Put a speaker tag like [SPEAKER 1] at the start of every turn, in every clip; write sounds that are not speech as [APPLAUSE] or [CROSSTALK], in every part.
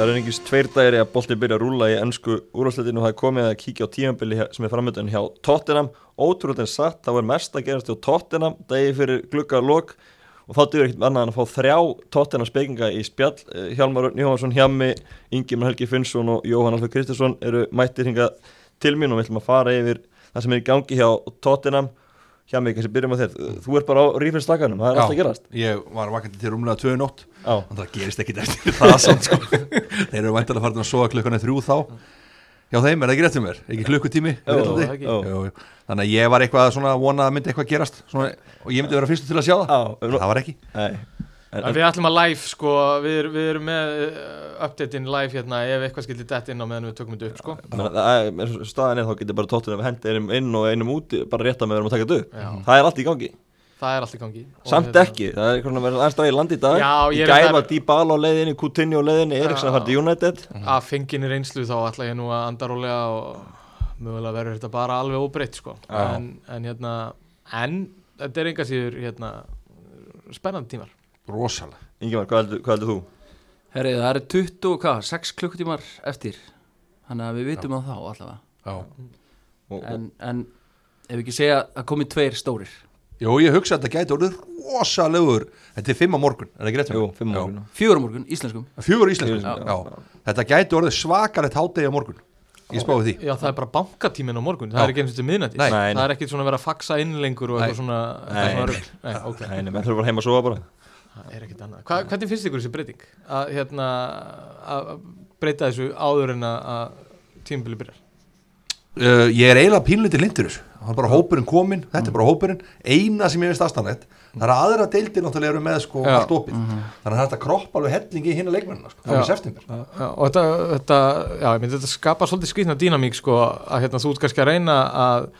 [SPEAKER 1] Það er einhvers tveir dagir í að bolti byrja að rúla í ennsku úrvarsleitinu og það er komið að kíkja á tímabili sem er framöndan hjá Tottenham Ótrúlega en satt, þá er mest að gerast hjá Tottenham dagi fyrir glugga og lok og þá duður ekkert annað en að fá þrjá Tottenham spekinga í spjall Eh, Hjálmar Örn Jóhansson, Hjami, Ingemar Helgi Finnsson og Jóhann Alfred Kristinsson eru mættir hingað til mín og við ætlum að fara yfir það sem er í gangi hjá Tottenham Hjami, kannski byrjum á þér, þú er bara á rífilslaganum, það er alltaf að gerast
[SPEAKER 2] Ég var vakandi til rúmlega 2 nótt
[SPEAKER 1] Já.
[SPEAKER 2] Þannig að það gerist ekkit eftir [LAUGHS] það samt sko Þeir eru væntalega farin að sofa klukkanu þrjú þá Já þeim er það ekki rétt um mér, ekki klukkutími í
[SPEAKER 1] Jú,
[SPEAKER 2] Bretlandi?
[SPEAKER 1] það ekki.
[SPEAKER 2] Jú, jú. Þannig að ég var eitthvað svona að vona að myndi eitthvað gerast svona, og ég myndi vera fyrstu til að sjá það
[SPEAKER 1] Já, um-
[SPEAKER 2] Það var ekki
[SPEAKER 1] Nei, en,
[SPEAKER 3] En
[SPEAKER 1] en,
[SPEAKER 3] við ætlum að live sko, við, er, við erum með uh, update-in live hérna ef eitthvað skildir dett inn á meðan við tökum þetta upp sko.
[SPEAKER 1] menn, það er- eins og staðan er þá getur bara tóttunum hendi einum inn og einum úti bara rétt að með verðum að taka þetta upp
[SPEAKER 3] Já.
[SPEAKER 1] það er allt í gangi,
[SPEAKER 3] Það er allt í gangi. Og
[SPEAKER 1] samt
[SPEAKER 3] hérna-
[SPEAKER 1] ekki það er einhvern veginn aðeins dag í landi í dag
[SPEAKER 3] Já,
[SPEAKER 1] í
[SPEAKER 3] ég veit
[SPEAKER 1] gæfa
[SPEAKER 3] það er-
[SPEAKER 1] Dybala á leiðinni, Coutinho á leiðinni Eriksson að fara til United
[SPEAKER 3] Að fenginni reynslu þá ætla ég nú að andarólega og mögulega verður þetta bara alveg óbreytt sko.
[SPEAKER 2] Já.
[SPEAKER 3] En, en hérna, en þetta er enga síður hérna, spennandi tímar.
[SPEAKER 2] Rosalega
[SPEAKER 1] Ingemar, hvað heldur, hvað heldur þú?
[SPEAKER 4] Herri, það eru 20 og hvað, 6 klukkutímar eftir Þannig að við vitum á þá allavega
[SPEAKER 2] Já.
[SPEAKER 1] Og,
[SPEAKER 4] en, en ef við ekki segja að komi tveir stórir
[SPEAKER 2] Jú, ég hugsa að þetta gæti orðið rosalegur Þetta er fimm á morgun, er það ekki rétt um
[SPEAKER 1] jú, fimm ára
[SPEAKER 4] Fjögur á morgun, íslenskum
[SPEAKER 2] Fjögur íslensk
[SPEAKER 1] Já.
[SPEAKER 2] Þetta gæti orðið svakalegt hádegi á morgun Ég spáði því
[SPEAKER 3] Já, það er bara bankatíminn á morgun, það
[SPEAKER 2] Já.
[SPEAKER 3] er ekki eins og til miðnætti.
[SPEAKER 2] Nei.
[SPEAKER 1] Nei,
[SPEAKER 3] Það er ekkert svona að vera að faxa inn lengur og eitthvað svona...
[SPEAKER 1] Nei.
[SPEAKER 3] eitthvað svona rugl. Nei, ok.
[SPEAKER 1] Nei, nei, menn þurfa bara heima að sofa bara
[SPEAKER 3] Það er ekkert annað. Hva, hvernig finnst ykkur þessi breyting? Að hérna, að breyta þessu áður en að- að tímbili byrjar?
[SPEAKER 2] uh, ég er eiginlega pínlítið lindur þessu það er bara hópurinn kominn, þetta er bara hópurinn eina sem ég veist aðstæðanlegt það er að aðra deildir náttúrulega eru með sko
[SPEAKER 3] Já.
[SPEAKER 2] allt opið þannig að þetta kroppa alveg hellingi í hinna leikmennina sko, fram í
[SPEAKER 3] Já.
[SPEAKER 2] september
[SPEAKER 3] Já, og þetta, þetta, já, ég myndi þetta skapa svolítið skrýtna dýnamík sko að hérna, þú ert kannski að reyna að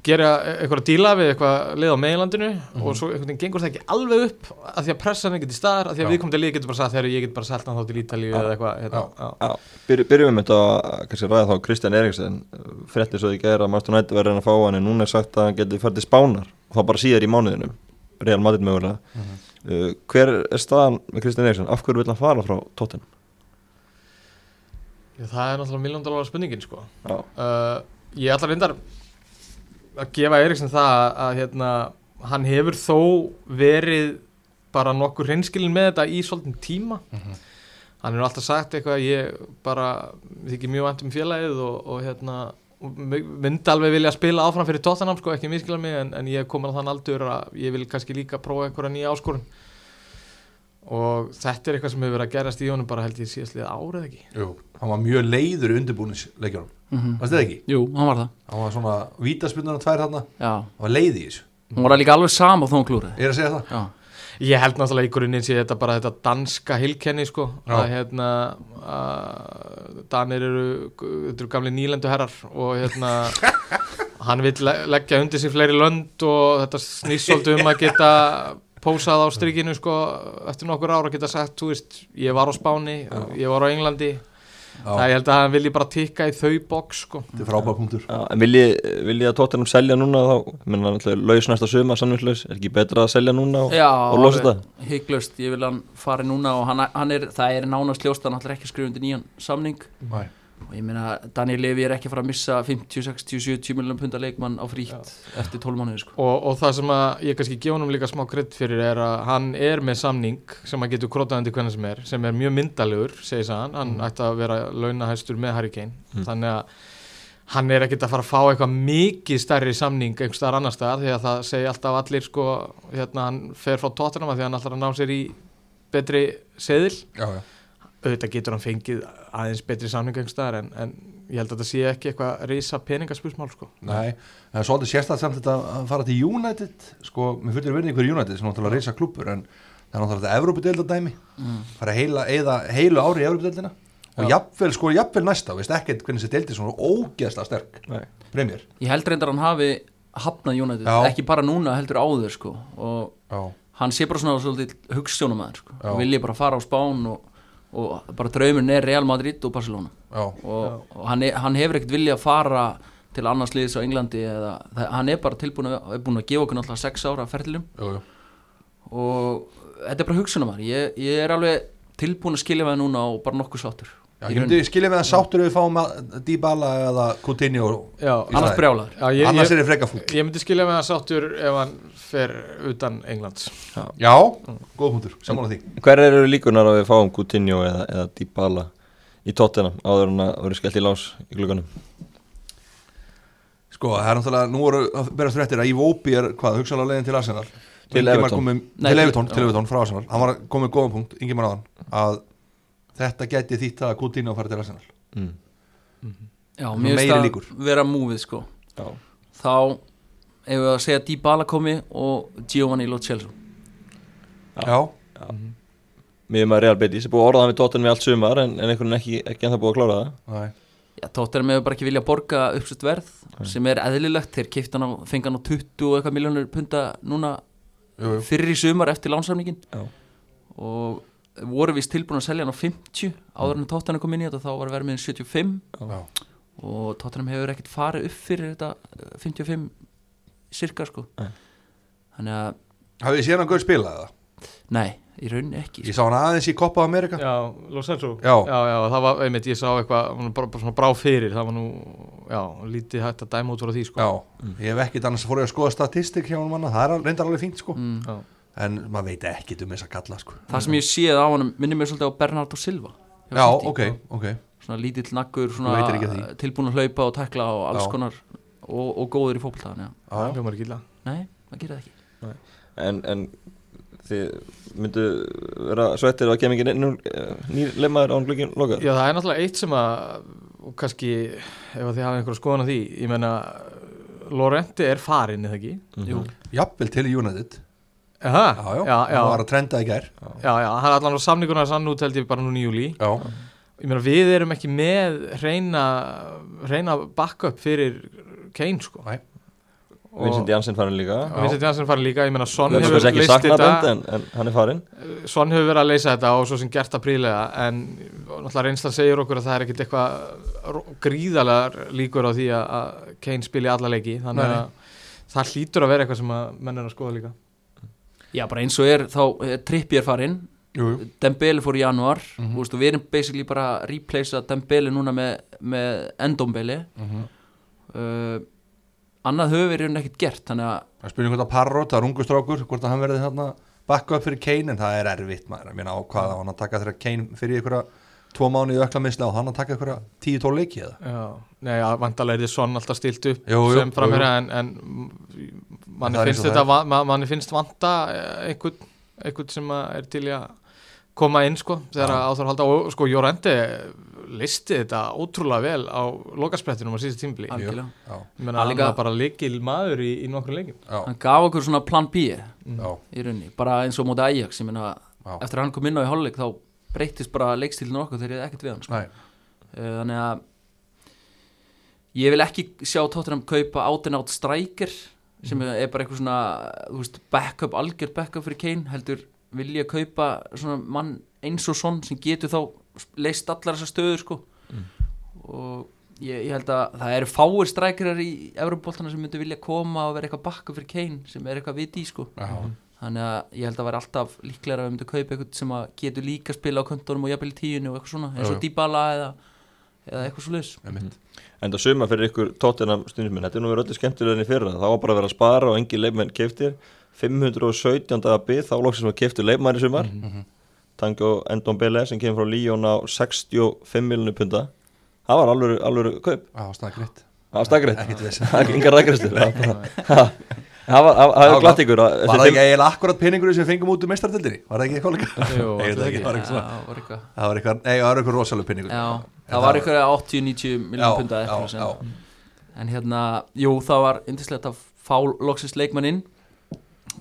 [SPEAKER 3] gera eitthvað að díla við eitthvað lið á meginlandinu og svo einhvern veginn gengur það ekki alveg upp að því að pressan er ekki til staðar að því að
[SPEAKER 2] Já.
[SPEAKER 3] viðkomandi lið getur bara sagt þegar ég get bara seltan þá til Ítalíu eða eitthvað hérna, já.
[SPEAKER 1] Já, byrjum, byrjum við með þetta að kannski ræða þá Kristján Eriksson fréttir svo því gæra að Marston Ætti verður að fá hann en núna er sagt að hann getur fært til Spánar og þá bara síðar í mánuðinum Real Madrid mögulega uh, Hver er staðan með Kristján Eriksson? Af hverju vil hann fara frá Tottenham?
[SPEAKER 3] Já, það er náttúrulega miljón dólar spurningin sko
[SPEAKER 1] Já,
[SPEAKER 3] uh, ég ætla reyndar að gefa Eriksson það að, að hérna, hann hefur þó verið bara nokkur hreinskilin með þetta í svolítinn tíma hann hefur alltaf sagt eitthvað að ég bara þykir mjög vænt um félagið og, og hérna og mig- myndi alveg vilja spila áfram fyrir Tottenham sko, ekki miskila mig en, en ég er komin að þann aldur að ég vil kannski líka prófa einhverja nýja áskorun og þetta er eitthvað sem hefur verið að gerast í honum bara held ég síðastlega árið ekki
[SPEAKER 2] Jú, hann var mjög leiður í undirbúningsleikjunum mm -hmm. varst þetta ekki?
[SPEAKER 4] Jú, hann var það
[SPEAKER 2] hann var svona vítaspunnar og tvær þarna
[SPEAKER 4] Já,
[SPEAKER 2] hann var leið í þessu,
[SPEAKER 4] hún var líka alveg sama þó hún klúrið
[SPEAKER 2] ég er að segja það
[SPEAKER 4] Já,
[SPEAKER 3] Ég held náttúrulega í grunninn sé þetta bara þetta danska hilkenni sko
[SPEAKER 2] Já.
[SPEAKER 3] að hérna að Danir eru, þetta eru gamli nýlendu herrar og hérna hann vil leggja undir sig fleiri lönd og þetta snýst svolítið um að geta pósað á strikinu sko eftir nokkur ára að geta sagt, þú veist, ég var á Spáni, ég var á Englandi það ég held að hann vilji bara tikka í þau boks sko
[SPEAKER 2] þetta er frábær punktur
[SPEAKER 1] Já, en vil ég, vil ég að Tottenham selja núna þá, menn hann ætlaði laus næsta suma samvinslaus, er ekki betra að selja núna og,
[SPEAKER 4] Já
[SPEAKER 1] og losa þetta?
[SPEAKER 4] Hygglaust, ég vil að hann fari núna og hann, hann er, það er nánast ljóst að hann ætlar ekki að skrifa undir nýjan samning
[SPEAKER 2] Nei.
[SPEAKER 4] og ég meina, Daniel Levy er ekki að fara að missa 50, 60, 70 miljonum punda leikmann á frítt eftir 12 mánuði sko.
[SPEAKER 3] og, og það sem að ég kannski gefa honum líka smá krydd fyrir er að hann er með samning sem að getur krotaðandi hvernig sem er sem er mjög myndalegur, segir hann hann ætti að vera launahæstur með Harry Kane þannig að hann er ekkert að fara að fá eitthvað mikið stærri samning einhvers staðar annar staðar því að það segja alltaf allir sko, hérna hann fer frá tóttunum að því að hann ætlar að ná sér í betri seðil
[SPEAKER 2] já, já.
[SPEAKER 3] auðvitað getur hann fengið aðeins betri samning einhvers staðar en, en ég held að þetta sé ekki eitthvað reysa peningaspursmál sko.
[SPEAKER 2] Nei, það er svolítið sérstætt samt þetta að fara til United sko, mér fyrir verðin ykkur United sem náttúrulega reysa klubur en það er náttúrulega þetta Evrópudeildadæmi fara heila, eða heilu ári í Evrópudeildina og jafnvel, sko, jafnvel næsta veist ekkert hvernig þessi deildi er svona ógeðslega sterk
[SPEAKER 1] Nei.
[SPEAKER 2] premjör
[SPEAKER 4] Ég held reyndar að hann hafi hafnað United,
[SPEAKER 2] Já.
[SPEAKER 4] ekki bara núna heldur áður sko. og hann sé bara svona svolítið hugstjónumæður sko.
[SPEAKER 2] Já.
[SPEAKER 4] og vilji bara fara á Spán og, og bara draumurinn er Real Madrid og Barcelona og, og hann, er, hann hefur ekkert vilja að fara til annars liðis á Englandi eða, það, hann er bara tilbúin að, er búin að gefa okkur náttúrulega sex ára ferðlum
[SPEAKER 2] Jú, jú.
[SPEAKER 4] og þetta er bara hugsunum hann ég, ég er alveg tilbúin að skilja með það núna og bara nokkuð sáttur
[SPEAKER 2] Já,
[SPEAKER 4] Í
[SPEAKER 2] ég myndi
[SPEAKER 4] rauninni.
[SPEAKER 2] skilja með að sáttur ef við fáum að Dybala eða Coutinho í
[SPEAKER 3] Já,
[SPEAKER 4] annars
[SPEAKER 2] staðinn.
[SPEAKER 4] brjálaður
[SPEAKER 3] Já, ég,
[SPEAKER 2] Annars
[SPEAKER 3] ég,
[SPEAKER 2] er þið freka fúll
[SPEAKER 3] ég myndi skilja með hann sáttur ef hann fer utan Englands
[SPEAKER 2] Já, góð hundur, sammála því
[SPEAKER 1] Hver eru líkunar að við fáum Coutinho eða, eða Dybala í tóttina áður en að verður skellt í lás í glöggunum?
[SPEAKER 2] Sko, það er náttúrulega, nú eru að berast fréttir að Ívópi er hvað, hugsanlega leiðin til Arsenal
[SPEAKER 1] Til
[SPEAKER 2] Ingimar
[SPEAKER 1] Everton.
[SPEAKER 2] komið-
[SPEAKER 4] Nei,
[SPEAKER 2] Til
[SPEAKER 4] til-
[SPEAKER 2] Evertón, til
[SPEAKER 4] já.
[SPEAKER 2] Evertón frá Arsenal Hann var komið góðan punkt, Ingimar Aðan að þetta gæti þýtt að Coutinho fara til Arsenal
[SPEAKER 1] Mm.
[SPEAKER 4] Já,
[SPEAKER 2] Nú
[SPEAKER 4] mér
[SPEAKER 2] meiri
[SPEAKER 4] finnst
[SPEAKER 2] líkur.
[SPEAKER 4] það vera múfið sko
[SPEAKER 1] Já.
[SPEAKER 4] þá ef við að segja Dybala komi og Giovanni Lo Celso
[SPEAKER 1] Já.
[SPEAKER 2] Já,
[SPEAKER 1] Mér erum að Real Betis, ég er búið að orða það með tóttina við allt sumar en, en einhvern veginn ekki, ekki en það búið að klára það
[SPEAKER 2] Nei.
[SPEAKER 4] Já, Tottenham hefur bara ekki viljað borga uppsett verð sem er eðlilegt, þeir keipta hann á fengi hann á 20 og eitthvað miljónur punta núna
[SPEAKER 2] Jú, jú.
[SPEAKER 4] fyrir í sumar eftir lánsamningin
[SPEAKER 1] Já.
[SPEAKER 4] og voru vist tilbúin að selja hann á 50 áður en Tottenham kom inn í þetta þá var vermiðin 75
[SPEAKER 2] Já.
[SPEAKER 4] og Tottenham hefur ekkert farið upp fyrir þetta eh, 55 cirka sko
[SPEAKER 1] Nei.
[SPEAKER 4] þannig að,
[SPEAKER 2] Hafið þið séð hann gauð spila það?
[SPEAKER 4] nei, í rauninni ekki sko.
[SPEAKER 2] Ég sá hann aðeins í Copa America
[SPEAKER 3] Já, Los Angeles
[SPEAKER 2] Já.
[SPEAKER 3] já, það var, einmitt, ég sá eitthvað hún var bara, bara svona brá fyrir, það var nú já, lítið hægt að dæma út voru því sko
[SPEAKER 2] Já, ég hef ekkit annars fór ég að skoða statistik hjá hann manna, það er al- reyndar alveg fínt sko
[SPEAKER 4] mm.
[SPEAKER 3] Já.
[SPEAKER 2] En maður veit ekkit um þess að kalla sko
[SPEAKER 4] það sem ég séð á hann minnir mér svolítið á Bernardo Silva hjá
[SPEAKER 2] Já,
[SPEAKER 4] City.
[SPEAKER 2] ok, ok
[SPEAKER 4] svona lítill nakkur
[SPEAKER 2] veitir ekki af því.
[SPEAKER 4] svona tilbúin að hlaupa og tekla og alls
[SPEAKER 2] Já.
[SPEAKER 4] konar og, og góður í fókbaltaðan
[SPEAKER 2] Já,
[SPEAKER 3] það hljómar ekki illa
[SPEAKER 4] nei, það gerir það ekki
[SPEAKER 1] En, en þið myndu vera svettir að kemur ekki neinn nú- eh, nýr lemmaður án glöggin lokað?
[SPEAKER 3] Já, það er náttúrulega eitt sem að og kannski, ef að þið hafa einhverja skoðan á því ég meina, Lorenti er farin eða ekki
[SPEAKER 2] Mhm.
[SPEAKER 4] Jú.
[SPEAKER 2] Jafnvel til United
[SPEAKER 3] Aha,
[SPEAKER 2] Já, já,
[SPEAKER 3] já, já,
[SPEAKER 2] hann var að trenda í gær
[SPEAKER 3] já, já, hann er allan á samningunar sann út held ég bara núna í júli
[SPEAKER 2] Já,
[SPEAKER 3] ég meina, við erum ekki með reyna, reyna backup fyrir Kane sko
[SPEAKER 2] Nei.
[SPEAKER 3] Og-
[SPEAKER 1] Vincent Janssen farin líka
[SPEAKER 3] Já. Vincent Jansson farin líka, ég meina Son
[SPEAKER 1] Við erum
[SPEAKER 3] hefur
[SPEAKER 1] þess ekki
[SPEAKER 3] leyst
[SPEAKER 1] saknað bend
[SPEAKER 3] þetta
[SPEAKER 1] en, en hann er farin
[SPEAKER 3] Son hefur verið að leysa þetta og svo sem gert það prílega en náttúrulega reynslan segir okkur að það er ekkit eitthvað ro- gríðalegar líkur á því að- að Kane spili alla leiki þannig
[SPEAKER 2] Nei,
[SPEAKER 3] að það hlýtur að vera eitthvað sem að menn er að skoða líka
[SPEAKER 4] já, bara eins og er, þá er Trippi er farinn
[SPEAKER 2] jú, jú
[SPEAKER 4] Dembele fór í januar
[SPEAKER 2] Mhm.
[SPEAKER 4] mm -hmm. við erum basically bara að replacea Dembele núna með, með Endombele
[SPEAKER 2] Mhm.
[SPEAKER 4] uh, annað höfum við í rauninni ekkert gert þannig að
[SPEAKER 2] Það er spurning hvort að Parrot, það er ungu strákur, hvort að hann verði þarna bakka upp fyrir Kane, en það er erfitt maður, ég meina á hvað á hann að taka þegar Kane fyrir ykkur tvo mánuði öklamislega og hann að taka ykkur tíu tól leiki eða?
[SPEAKER 3] Já, nei, að vandalega er því Son alltaf stilt
[SPEAKER 2] Jú,
[SPEAKER 3] upp
[SPEAKER 2] jú,
[SPEAKER 3] sem framherja
[SPEAKER 2] jú,
[SPEAKER 3] en, en
[SPEAKER 2] En það
[SPEAKER 3] manni
[SPEAKER 2] er eins
[SPEAKER 3] finnst
[SPEAKER 2] og
[SPEAKER 3] þetta va- ma- manni finnst vanta eh, einhvern, einhvern sem að er til í að koma inn sko þegar
[SPEAKER 2] Já.
[SPEAKER 3] að á þarf að halda og sko Jórendi listi þetta ótrúlega vel á lokasprettinum á síðast tímbli
[SPEAKER 2] Jú.
[SPEAKER 4] algjörlega,
[SPEAKER 2] Já,
[SPEAKER 3] menn
[SPEAKER 4] Hann
[SPEAKER 3] að hann
[SPEAKER 4] líka-
[SPEAKER 3] var bara likil maður í, í nokkrum leikim
[SPEAKER 2] já,
[SPEAKER 4] hann gaf okkur svona plan B í
[SPEAKER 2] já,
[SPEAKER 4] rauninni, bara eins og móti Ajax ég meina,
[SPEAKER 2] já,
[SPEAKER 4] eftir að hann kom inn á í hálfleik þá breytist bara leikstílinn okkur þegar ég ekkert við hann sko.
[SPEAKER 2] Nei,
[SPEAKER 4] Uh, þannig að ég vil ekki sjá Tottenham kaupa out and out striker sem er bara eitthvað svona þú veist, backup, algjör backup fyrir Kane heldur vil ég kaupa svona mann eins og svon sem getur þá leist allar þessar stöður sko og ég, ég held að það eru fáir strikerar í Evropoltana sem myndu vilja koma og vera eitthvað backup fyrir Kane sem er eitthvað viti í sko
[SPEAKER 2] já,
[SPEAKER 4] þannig að ég held að vera alltaf líklega að við myndum kaupa eitthvað sem að getur líka að spila á köntunum og jafnvel í tíunni og eitthvað svona eins
[SPEAKER 2] Jú,
[SPEAKER 4] og
[SPEAKER 2] jú.
[SPEAKER 4] Dybala eða, eða eitthvað svo laus
[SPEAKER 2] með mitt.
[SPEAKER 1] En það suma fyrir ykkur tóttinam stundismenn, þetta er nú verið öllu skemmtilega enn í fyrra, þá var bara að vera að spara og engi leikmenn keftir, 517. dagar bið, þá loksins var keftur leikmæri sumar,
[SPEAKER 3] Mhm.
[SPEAKER 1] mm -hmm. Tango Endon Bele sem kemur frá Líón á 65 miljónu punda, það var alveg, alveg kaup,
[SPEAKER 2] Já, snakk rétt.
[SPEAKER 1] það var stakrætt,
[SPEAKER 2] Ekkert viss.
[SPEAKER 1] það er engar rækriðslu, það var bara, [LAUGHS] Ha, það var- það var- það var glatt ykkur, að-
[SPEAKER 2] Var
[SPEAKER 1] eftir
[SPEAKER 2] það
[SPEAKER 1] fimm-
[SPEAKER 2] ekki eiginlega akkurat peningur sem við fengum út um meistardildinni? Var það ekki eitthvað líka? [LAUGHS]
[SPEAKER 3] Jú,
[SPEAKER 2] Nei, það ekki, var
[SPEAKER 4] Já,
[SPEAKER 2] eitthvað svona.
[SPEAKER 4] var eitthvað.
[SPEAKER 2] Það var eitthvað, nei, það var eitthvað rosalega peningur.
[SPEAKER 4] Já,
[SPEAKER 2] það
[SPEAKER 4] það var
[SPEAKER 2] var-
[SPEAKER 4] eitthvað 80-90 miljón punda
[SPEAKER 2] já,
[SPEAKER 4] eftir
[SPEAKER 2] já,
[SPEAKER 4] þess en hérna, jú það var yndislegt að fá loksins leikmann inn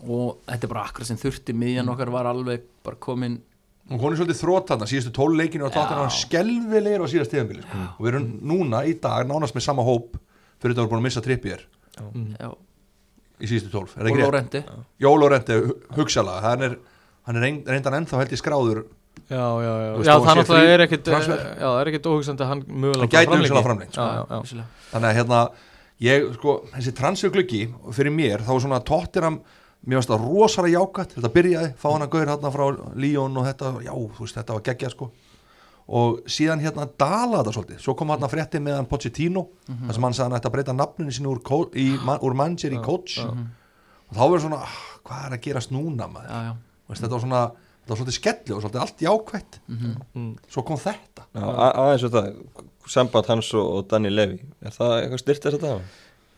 [SPEAKER 4] og þetta er bara akkurat sem þurfti miðjan
[SPEAKER 2] Mm.
[SPEAKER 4] okkar var alveg bara komin
[SPEAKER 2] Hún konið svolítið þrótt þarna, síðustu tól leikinu og þáttan
[SPEAKER 4] Já.
[SPEAKER 2] hann skelvilegir á síðast tíðanbili sko. og við erum núna í dag nánast með sama hóp fyrir þetta að við erum búin að missa trippjér Mm.
[SPEAKER 4] já,
[SPEAKER 2] í síðustu tólf, er
[SPEAKER 4] og
[SPEAKER 2] það ekki rétt?
[SPEAKER 4] Lórendi
[SPEAKER 2] Jólórendi hugsalega, hann er, hann er reynd- reyndar ennþá held í skráður
[SPEAKER 3] Já, já, já,
[SPEAKER 2] Þú veist,
[SPEAKER 3] já
[SPEAKER 2] þó að
[SPEAKER 3] það
[SPEAKER 2] sé
[SPEAKER 3] náttúrulega
[SPEAKER 2] frí
[SPEAKER 3] er ekkit eh,
[SPEAKER 2] transfer.
[SPEAKER 3] já, það er ekkit óhugsandi að hann mögulega
[SPEAKER 2] Hann gæti
[SPEAKER 3] framlengi.
[SPEAKER 2] hugsanlega framlengt, sko.
[SPEAKER 3] Já, já, já.
[SPEAKER 4] vissulega.
[SPEAKER 2] þannig að hérna, ég, sko, þessi transfergluggi fyrir mér, þá er svona tóttinam mér finnst það rosalega jákvætt þetta byrjaði, fá hann að gaur hérna frá Líón og þetta, já, þú veist, þetta var geggjað sko og síðan hérna dala þetta svolítið, svo kom hann að frétti með hann Pochettino, þar sem hann sagði hann ætti að breyta nafninu sínu úr, kó- í, man- úr manager í coach og þá verður svona ah, hvað er að gerast núna maður
[SPEAKER 4] já, já.
[SPEAKER 2] Þú veist, þetta var svona, þetta var svolítið skellu og svolítið allt jákvætt
[SPEAKER 3] Mm.
[SPEAKER 2] svo kom þetta
[SPEAKER 1] Já, a- aðeins og það, samband hans og, og Danny Levy, er það eitthvað styrt þess að það?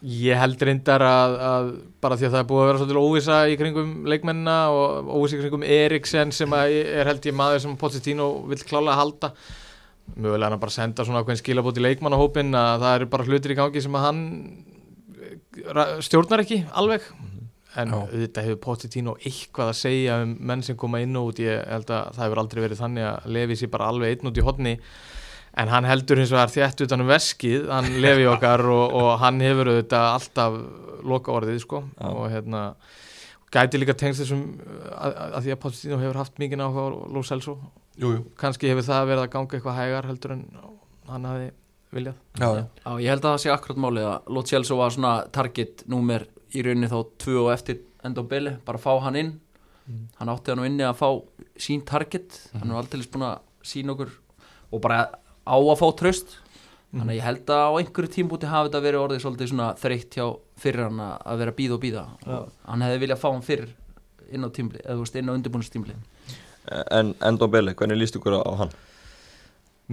[SPEAKER 3] Ég held reyndar að, að bara því að það er búið að vera svolítið óvisa í kringum leikmennina og óvisa í kringum Eriksen sem að er held ég maður sem Pochettino vill klálega halda mögulega hann að bara senda svona ákveðin skilabót í leikmannahópin að það eru bara hlutir í gangi sem að hann eh, ra- stjórnar ekki alveg en
[SPEAKER 2] Já.
[SPEAKER 3] auðvitað hefur Pochettino eitthvað að segja um menn sem koma inn og út ég held að það hefur aldrei verið þannig að Levi sér bara alveg einn út í hodni En hann heldur hins vegar þétt utanum veskið, hann
[SPEAKER 2] [LAUGHS]
[SPEAKER 3] lefi okkar og, og hann hefur auðvitað alltaf loka orðið sko
[SPEAKER 1] Já.
[SPEAKER 3] og hérna gæti líka tengst þessum að, að því að Pochettino hefur haft mikið áhuga á Lo Celso,
[SPEAKER 2] jú, jú.
[SPEAKER 3] kannski hefur það verið að ganga eitthvað hægar heldur en hann hafi viljað.
[SPEAKER 2] Já, já.
[SPEAKER 4] Já, ég held að það sé akkurat málið að Lo Celso var svona target númer í rauninni þá tvö og eftir enda á byli, bara fá hann inn hann átti hann nú inni að fá sín target, hann er aldrei búin að sína okkur og bara á að fá tröst þannig að ég held að á einhverju tímbúti hafi þetta verið orðið svolítið svona þreytt hjá fyrir hann að- að vera að býða og býða og hann hefði viljað fá hann fyrir inn á tímbli, eða þú veist inn á undirbúinustímbli
[SPEAKER 1] En Endon Bele, hvernig líst ykkur á, á hann?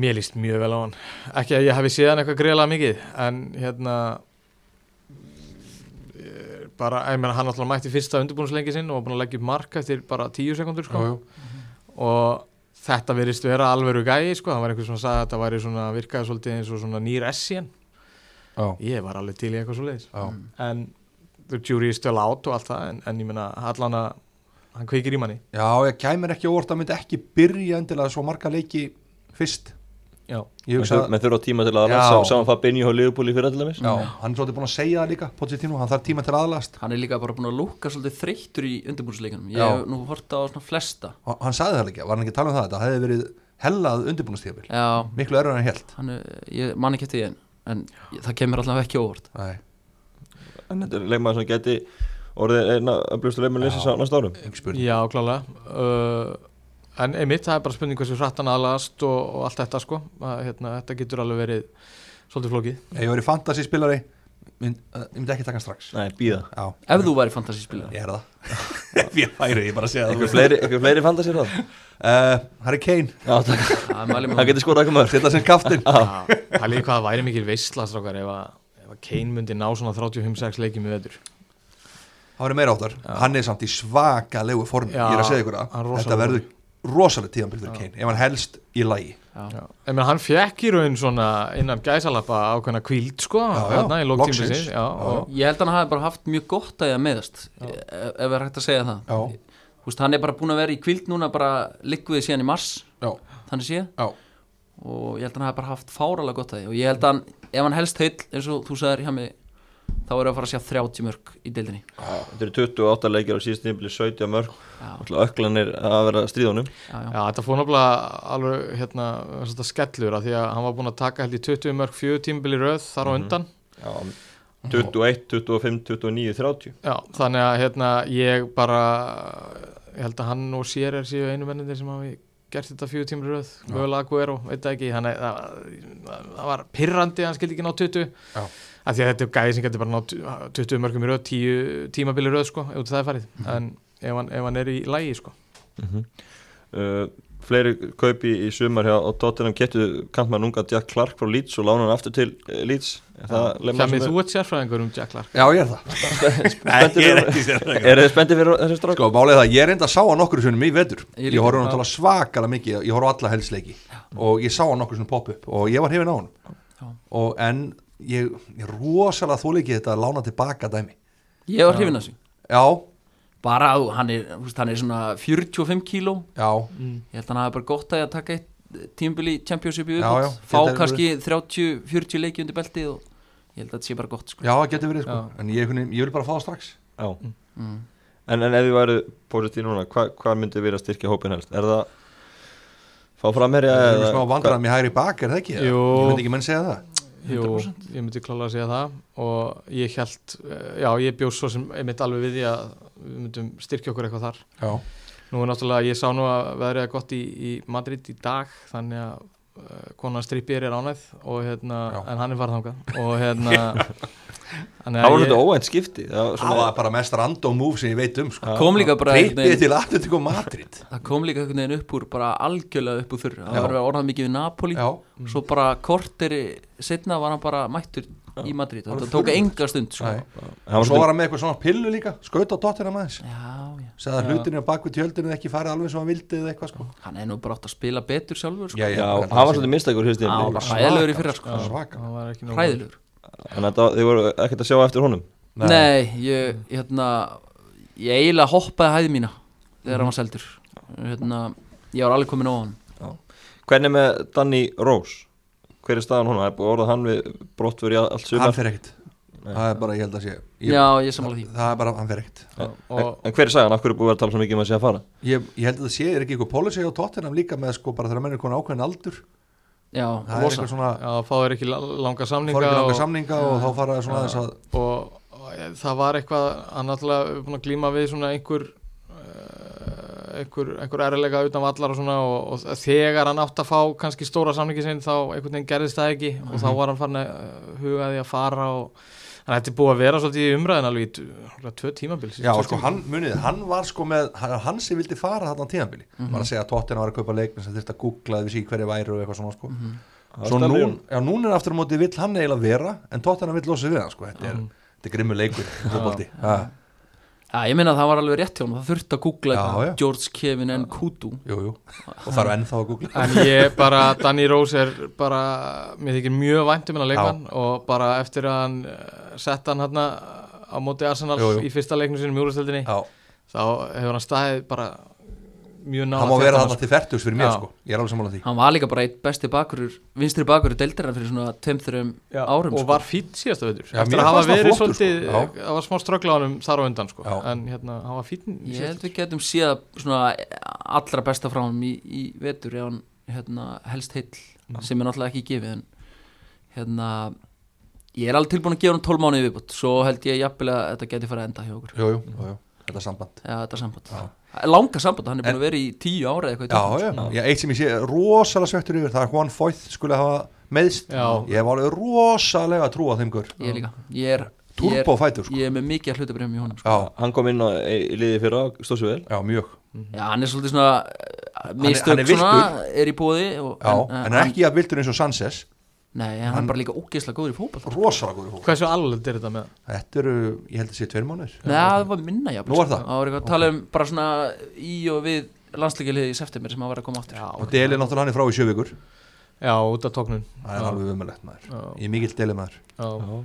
[SPEAKER 3] Mér líst mjög vel á hann. Ekki að ég hafi séð hann eitthvað greiðlega mikið, en hérna eh, bara, ég meina hann alltaf mætti fyrsta undirbúinslengi sinn og var búin að leggja upp mark eftir bara tíu sekundur sko.
[SPEAKER 2] Jú, jú.
[SPEAKER 3] og þetta verðist vera alveru gæi sko, það var einhver sem sagði að þetta væri svona virkaði svolítið eins og svona nýr Essien
[SPEAKER 2] Já,
[SPEAKER 3] ég var alveg til í eitthvað svolítið
[SPEAKER 2] já.
[SPEAKER 3] en the jury is still out og allt það en, en ég meina allan að hann kveikir í manni
[SPEAKER 2] já, ég kæmir ekki á orð það myndi ekki byrja endilega svo marga leiki fyrst
[SPEAKER 3] já,
[SPEAKER 2] Ég
[SPEAKER 1] Menn
[SPEAKER 2] hugsa
[SPEAKER 1] þur-
[SPEAKER 2] að,
[SPEAKER 1] menn þurfa tíma til að
[SPEAKER 2] Já.
[SPEAKER 1] aðlæsa og saman Fabinho og Liverpool í fyrra til dæmis?
[SPEAKER 2] já, hann er svolítið búin að segja það líka Pochettino, hann þarf tíma til aðlast
[SPEAKER 4] hann er líka bara búin að lúka svolítið þreyttur í undirbúinsleikunum ég
[SPEAKER 2] Já.
[SPEAKER 4] hef nú horta á svona flesta
[SPEAKER 2] hann sagði það líka, var hann ekki að tala um það þetta hefði verið hellað undirbúinastíðabil
[SPEAKER 4] Já,
[SPEAKER 2] miklu erfið en held
[SPEAKER 4] hann, er- ég man ekki eftir því en, en ég- það kemur allavega ekki á óvart
[SPEAKER 2] Nei.
[SPEAKER 1] En þetta er leikmaður sem geti orðið eina öflustu leikmaður lýsins á næsta árum
[SPEAKER 2] Ekki spurning.
[SPEAKER 3] já klálega uh, en einmitt það er bara spurning hversu hratt hann aðlast og, og allt þetta sko að, hérna, þetta getur alveg verið svolítið flókið
[SPEAKER 2] Ef ég verið fantasy spilari mynd, uh, ég myndi ekki taka hann strax
[SPEAKER 1] Nei, býða
[SPEAKER 2] Já,
[SPEAKER 4] ef þú væri fantasíspilar
[SPEAKER 2] ég er það [LAUGHS] Ef ég væri, ég bara segja það
[SPEAKER 1] Ykkur fleiri, ykkur fleiri fanda sér [LAUGHS] það
[SPEAKER 2] uh, Harry Kane,
[SPEAKER 1] Já, takk Hann
[SPEAKER 4] það
[SPEAKER 1] getur skorað ekki maður
[SPEAKER 2] setja sem [LAUGHS] kaftin
[SPEAKER 3] Já, það er líka hvað það væri mikil veistlastrákar ef að, ef að Kane myndi ná svona 35-6 leikjum í vetur
[SPEAKER 2] Það verið meira áttar, hann er samt í svakalegu formi
[SPEAKER 3] Já,
[SPEAKER 2] Ég er að segja ykkur
[SPEAKER 3] hann er
[SPEAKER 2] það
[SPEAKER 3] rosalega
[SPEAKER 2] Þetta verður rosalega tíðanbyrð fyrir Kane Ef hann helst í lagi
[SPEAKER 3] Já. Ég meina, hann fekk í raun svona innan gæsalappa ákveðna kvíld sko,
[SPEAKER 2] já,
[SPEAKER 3] þarna í
[SPEAKER 2] loksins.
[SPEAKER 3] lóktímsins
[SPEAKER 2] Já.
[SPEAKER 3] já, og-
[SPEAKER 4] ég held að hann hafi bara haft mjög gott að ég að meðast ef ef er hægt að segja það
[SPEAKER 2] Já.
[SPEAKER 4] Þú veist, hann er bara búin að vera í kvild núna bara liggviði síðan í mars
[SPEAKER 2] Já,
[SPEAKER 4] þannig séð
[SPEAKER 2] já,
[SPEAKER 4] og ég held að hann hafi bara haft fáralega gott að því og ég held að hann, ef hann helst heill eins og þú sagðir hjá mig þá erum við að fara að sjá 30 mörg í deildinni
[SPEAKER 1] Þetta eru 28 leikir á síðust tímpli 17 mörg
[SPEAKER 4] Já.
[SPEAKER 1] Þannig að öklanir að vera stríðunum
[SPEAKER 4] já, já.
[SPEAKER 3] Já, þetta fór náttúrulega alveg hérna, svona skellur að því að hann var búinn að taka held í 20 mörg 4 tímbil í röð þar á undan
[SPEAKER 1] 21, 25, 29, 30
[SPEAKER 3] Já, þannig að hérna, ég bara ég held að hann og sér er síðu einu mennir sem hafi gert þetta 4 tímbil í röð mögulega Aguero, veit það ekki þannig að það- það var pirrandi að hann skildi ekki ná 20
[SPEAKER 2] Já.
[SPEAKER 3] að því að þetta er gæði sem getur bara nátt 20 mörgum í röð, 10 tímabili röð sko, ef út í það er farið,
[SPEAKER 1] Mhm.
[SPEAKER 3] en ef hann, ef hann er í lægi sko.
[SPEAKER 2] Mhm.
[SPEAKER 1] uh, Fleiri kaupi í sumar hjá og Tottenham getur kantmann unga Jack Clark frá Leeds og lána hann aftur til eh, Leeds Er það leikmaður sem
[SPEAKER 3] Hjamið, þú ert sérfræðingur um Jack Clark
[SPEAKER 2] já, ég er það
[SPEAKER 1] Spenntir fyrir-
[SPEAKER 2] sérfræðingur.
[SPEAKER 1] er þið spenntið fyrir þessu strák?
[SPEAKER 2] Sko, málið er það, ég reynda að sá hann okkur sunnum í vetur
[SPEAKER 4] Ég
[SPEAKER 2] Ég,
[SPEAKER 4] líka.
[SPEAKER 2] horfði hann að svakalega mikið, ég horfði á alla helsleiki og ég sá hann okkur sunnum pop-up og ég var hefinn á hann
[SPEAKER 4] Já.
[SPEAKER 2] og en ég, ég rosalega þóli ekki þetta að lána tilbaka dæmi
[SPEAKER 4] ég var hrifin að sig
[SPEAKER 2] Já,
[SPEAKER 4] bara að hann er, þú veist, hann er svona 45 kíló
[SPEAKER 2] já,
[SPEAKER 4] ég held að hann hafi bara gott að ég að taka eitt tímbili championship í
[SPEAKER 2] Já,
[SPEAKER 4] viðbót
[SPEAKER 2] já,
[SPEAKER 4] fá
[SPEAKER 2] þetta er
[SPEAKER 4] kannski 30-40 leiki undir beltið og ég held að þetta sé bara gott sko.
[SPEAKER 2] já, það getur verið sko en ég, einhvern veginn- ég vil bara fá það strax
[SPEAKER 1] Já
[SPEAKER 4] Mm.
[SPEAKER 1] en, en ef þið væru positíð núna, hva, hvað myndi verið að styrkja hópin helst? Er það fá framherja
[SPEAKER 2] Það er
[SPEAKER 1] eða-
[SPEAKER 2] smá vandræðum í hægri bak, er það ekki?
[SPEAKER 3] Jú.
[SPEAKER 2] Ég myndi ekki menn segja það
[SPEAKER 3] Jú, ég myndi klála að segja það og ég held, eh, já ég bjóð svo sem einmitt alveg við því að við myndum styrkja okkur eitthvað þar
[SPEAKER 2] já,
[SPEAKER 3] nú er náttúrulega, ég sá nú að veðrið er gott í, í Madrid í dag þannig að uh, konan strippir er ánæð og hérna,
[SPEAKER 2] Já.
[SPEAKER 3] en hann er farið þangað og
[SPEAKER 2] [LAUGHS]
[SPEAKER 3] hérna þannig
[SPEAKER 1] Það
[SPEAKER 3] að
[SPEAKER 1] var
[SPEAKER 3] ég-
[SPEAKER 1] þetta óænt skipti Það var
[SPEAKER 2] það
[SPEAKER 1] svona
[SPEAKER 2] var bara mest random move sem ég veit um sko.
[SPEAKER 4] kom líka bara
[SPEAKER 2] Trippið til Atletico Madrid
[SPEAKER 4] það kom líka einhvern veginn upp úr bara algjörlega upp úr þurr það
[SPEAKER 2] Já.
[SPEAKER 4] var orðað mikið við Napoli
[SPEAKER 2] Já,
[SPEAKER 4] svo bara kortir setna var hann bara mættur í Madrid þetta tók enga stund sko.
[SPEAKER 2] Nei.
[SPEAKER 1] Það
[SPEAKER 2] og
[SPEAKER 1] var
[SPEAKER 2] svo
[SPEAKER 1] svona
[SPEAKER 2] var hann með eitthvað svona pillu líka skaut á tóttina maður
[SPEAKER 4] já, já,
[SPEAKER 2] segði að hlutinu á bakvið tjöldinu hefði ekki farið alveg sem hann vildi eða eitthvað sko
[SPEAKER 4] hann er nú bara átt að spila betur sjálfur sko.
[SPEAKER 2] já,
[SPEAKER 1] Já, hann var svolítið mistakur
[SPEAKER 4] Já, hann var
[SPEAKER 1] Þannig
[SPEAKER 4] hræðilegur í fyrra sko.
[SPEAKER 2] svaka
[SPEAKER 3] hann var ekki nógu-
[SPEAKER 4] hræðilegur
[SPEAKER 1] að þetta- þið voru ekkert að sjá eftir honum
[SPEAKER 4] nei, ég, hérna, ég eiginlega hoppaði hæði mína þegar
[SPEAKER 2] Mhm.
[SPEAKER 4] hann var seldur hérna, ég var alveg komin á hann
[SPEAKER 1] Hvernig með Danny Rose? Hver er staðan hún? Það er búið að orða hann við brottfur í allt
[SPEAKER 2] hann
[SPEAKER 1] sumar
[SPEAKER 2] fer ekkit það er bara, ég held að sé ég,
[SPEAKER 4] já, ég sammála því
[SPEAKER 2] það er bara, hann fer ekkit
[SPEAKER 3] og,
[SPEAKER 1] En
[SPEAKER 3] og,
[SPEAKER 1] en hver er sagan? Af hverju er búið að vera að tala svo mikið um að sé að fara?
[SPEAKER 2] ég, ég held að það sé, er ekki eitthvað policy á tóttinam líka með sko bara þegar menn er konar ákveðin aldur
[SPEAKER 4] já,
[SPEAKER 2] það er
[SPEAKER 4] losa
[SPEAKER 2] eitthvað svona,
[SPEAKER 3] já, fá þér ekki la- langa samninga
[SPEAKER 2] fór ekki
[SPEAKER 3] og-
[SPEAKER 2] langa samninga og þá fara það svona þess að
[SPEAKER 3] og, og eh, það var eitthvað hann náttúrulega er búin að glíma við svona einhver eh, einhver, einhver erlega utan vallar og svona og, og þegar hann átt að fá kannski stóra samlingi sinn þá einhvern veginn gerðist það ekki og þá
[SPEAKER 2] Mhm.
[SPEAKER 3] var hann farin að eh, huga að því að fara og hann hætti búið að vera svolítið í umræðin alveg í t- tvö tímabils
[SPEAKER 2] Já, og sko, hann, munið, þið, hann var sko með, hann, hann sem vildi fara þarna tíðanbili, var að segja að Tottenham var að kaupa leikmenn sem þurfti að googla eða vissi ekki hverju væri og eitthvað svona, sko. Svo
[SPEAKER 1] Það var
[SPEAKER 2] nú,
[SPEAKER 1] stærri-
[SPEAKER 2] já, núna er aftur á móti vill hann eiginlega vera, en Tottenham vill losa við hann, sko, þetta er, þetta er grimmu leikur, fótbolti. Já,
[SPEAKER 4] já, ég meina að það var alveg rétt hjá hann það þurfti að googla
[SPEAKER 2] Já,
[SPEAKER 4] eitthvað,
[SPEAKER 2] já.
[SPEAKER 4] George Kevin N. Kudu
[SPEAKER 2] jú, jú, og þarf ennþá að
[SPEAKER 3] [LAUGHS]
[SPEAKER 2] googla.
[SPEAKER 3] En ég bara, Danny Rose er bara, mér þykir mjög vænt um hennar leikmann og bara eftir að hann eh, setta hann hérna á móti Arsenal
[SPEAKER 2] Jú, jú.
[SPEAKER 3] í fyrsta leiknum sinni mjúrastöldinni
[SPEAKER 2] Já,
[SPEAKER 3] þá hefur hann staðið bara mjög hérna nála
[SPEAKER 2] hann má vera þarna til færtugs fyrir mér,
[SPEAKER 3] Já.
[SPEAKER 2] sko, ég er alveg sammála því.
[SPEAKER 4] hann var líka bara eitt besti bakurur vinstri bakurur deildarinn fyrir svona 2-3 árum sko.
[SPEAKER 3] og var fýtt síðasta veitur
[SPEAKER 2] Já,
[SPEAKER 3] eftir
[SPEAKER 2] mér
[SPEAKER 3] að hafa
[SPEAKER 2] fannst það
[SPEAKER 3] verið
[SPEAKER 2] flottur, sko.
[SPEAKER 3] svolítið,
[SPEAKER 2] Já.
[SPEAKER 3] það var smá ströggla á hann þar á undan sko,
[SPEAKER 2] Já.
[SPEAKER 3] en hérna, hann var fýtt
[SPEAKER 4] Ég held við getum síða svona allra besta frá hann í, í vetur ef hann hérna, helst heill sem er náttúrulega ekki gefið en hérna ég er alveg tilbúin að gefa hann 12 mánuði viðbútt svo held ég jafnvel að þetta geti farið að enda hjá okkur
[SPEAKER 2] Jú, jú, jú, jú, þetta er samband.
[SPEAKER 4] eða þetta samband langa samband, hann er búin að vera í 10 ára eða eitthvað í
[SPEAKER 2] Já, já,
[SPEAKER 4] Tottenham, sko.
[SPEAKER 2] já, eitt sem ég sé rosalega svektur yfir, það er Juan Foyth skulle hafa meðst,
[SPEAKER 3] Já.
[SPEAKER 2] ég hef alveg rosalega trú á þeim gaur,
[SPEAKER 4] ég líka, ég er ég er,
[SPEAKER 2] turbofætur, sko,
[SPEAKER 4] ég er með mikið að hlutabrifum í honum sko.
[SPEAKER 2] já,
[SPEAKER 1] Hann kom inn á í í liðið fyrra og stóð sér vel
[SPEAKER 2] já, mjög.
[SPEAKER 4] já, hann er svolítið svona eh,
[SPEAKER 2] er- Mhm. hann
[SPEAKER 4] mistök
[SPEAKER 2] er
[SPEAKER 4] svona, er í bóði og,
[SPEAKER 2] Já,
[SPEAKER 4] eh,
[SPEAKER 2] en, ekki að vildur eins og Sanchez
[SPEAKER 4] nei, hann,
[SPEAKER 2] hann-
[SPEAKER 4] er bara líka ógeðslega góður í fótball
[SPEAKER 2] rosalega góður hók
[SPEAKER 3] hversu alveg er þetta með hann?
[SPEAKER 2] Þetta eru, ég held að sé tveir mánuðir
[SPEAKER 4] Nei, það var minna jafn
[SPEAKER 2] Nú var það?
[SPEAKER 4] Það var eitthvað að tala um bara svona í og við landsleikiliði í september sem að vera að koma aftur
[SPEAKER 3] já,
[SPEAKER 2] og Deli náttúrulega hann er frá í sjövíkur
[SPEAKER 3] já, út af tóknun
[SPEAKER 2] það er alveg umulegt maður,
[SPEAKER 3] Já.
[SPEAKER 2] ég er mikill Deli maður
[SPEAKER 3] já,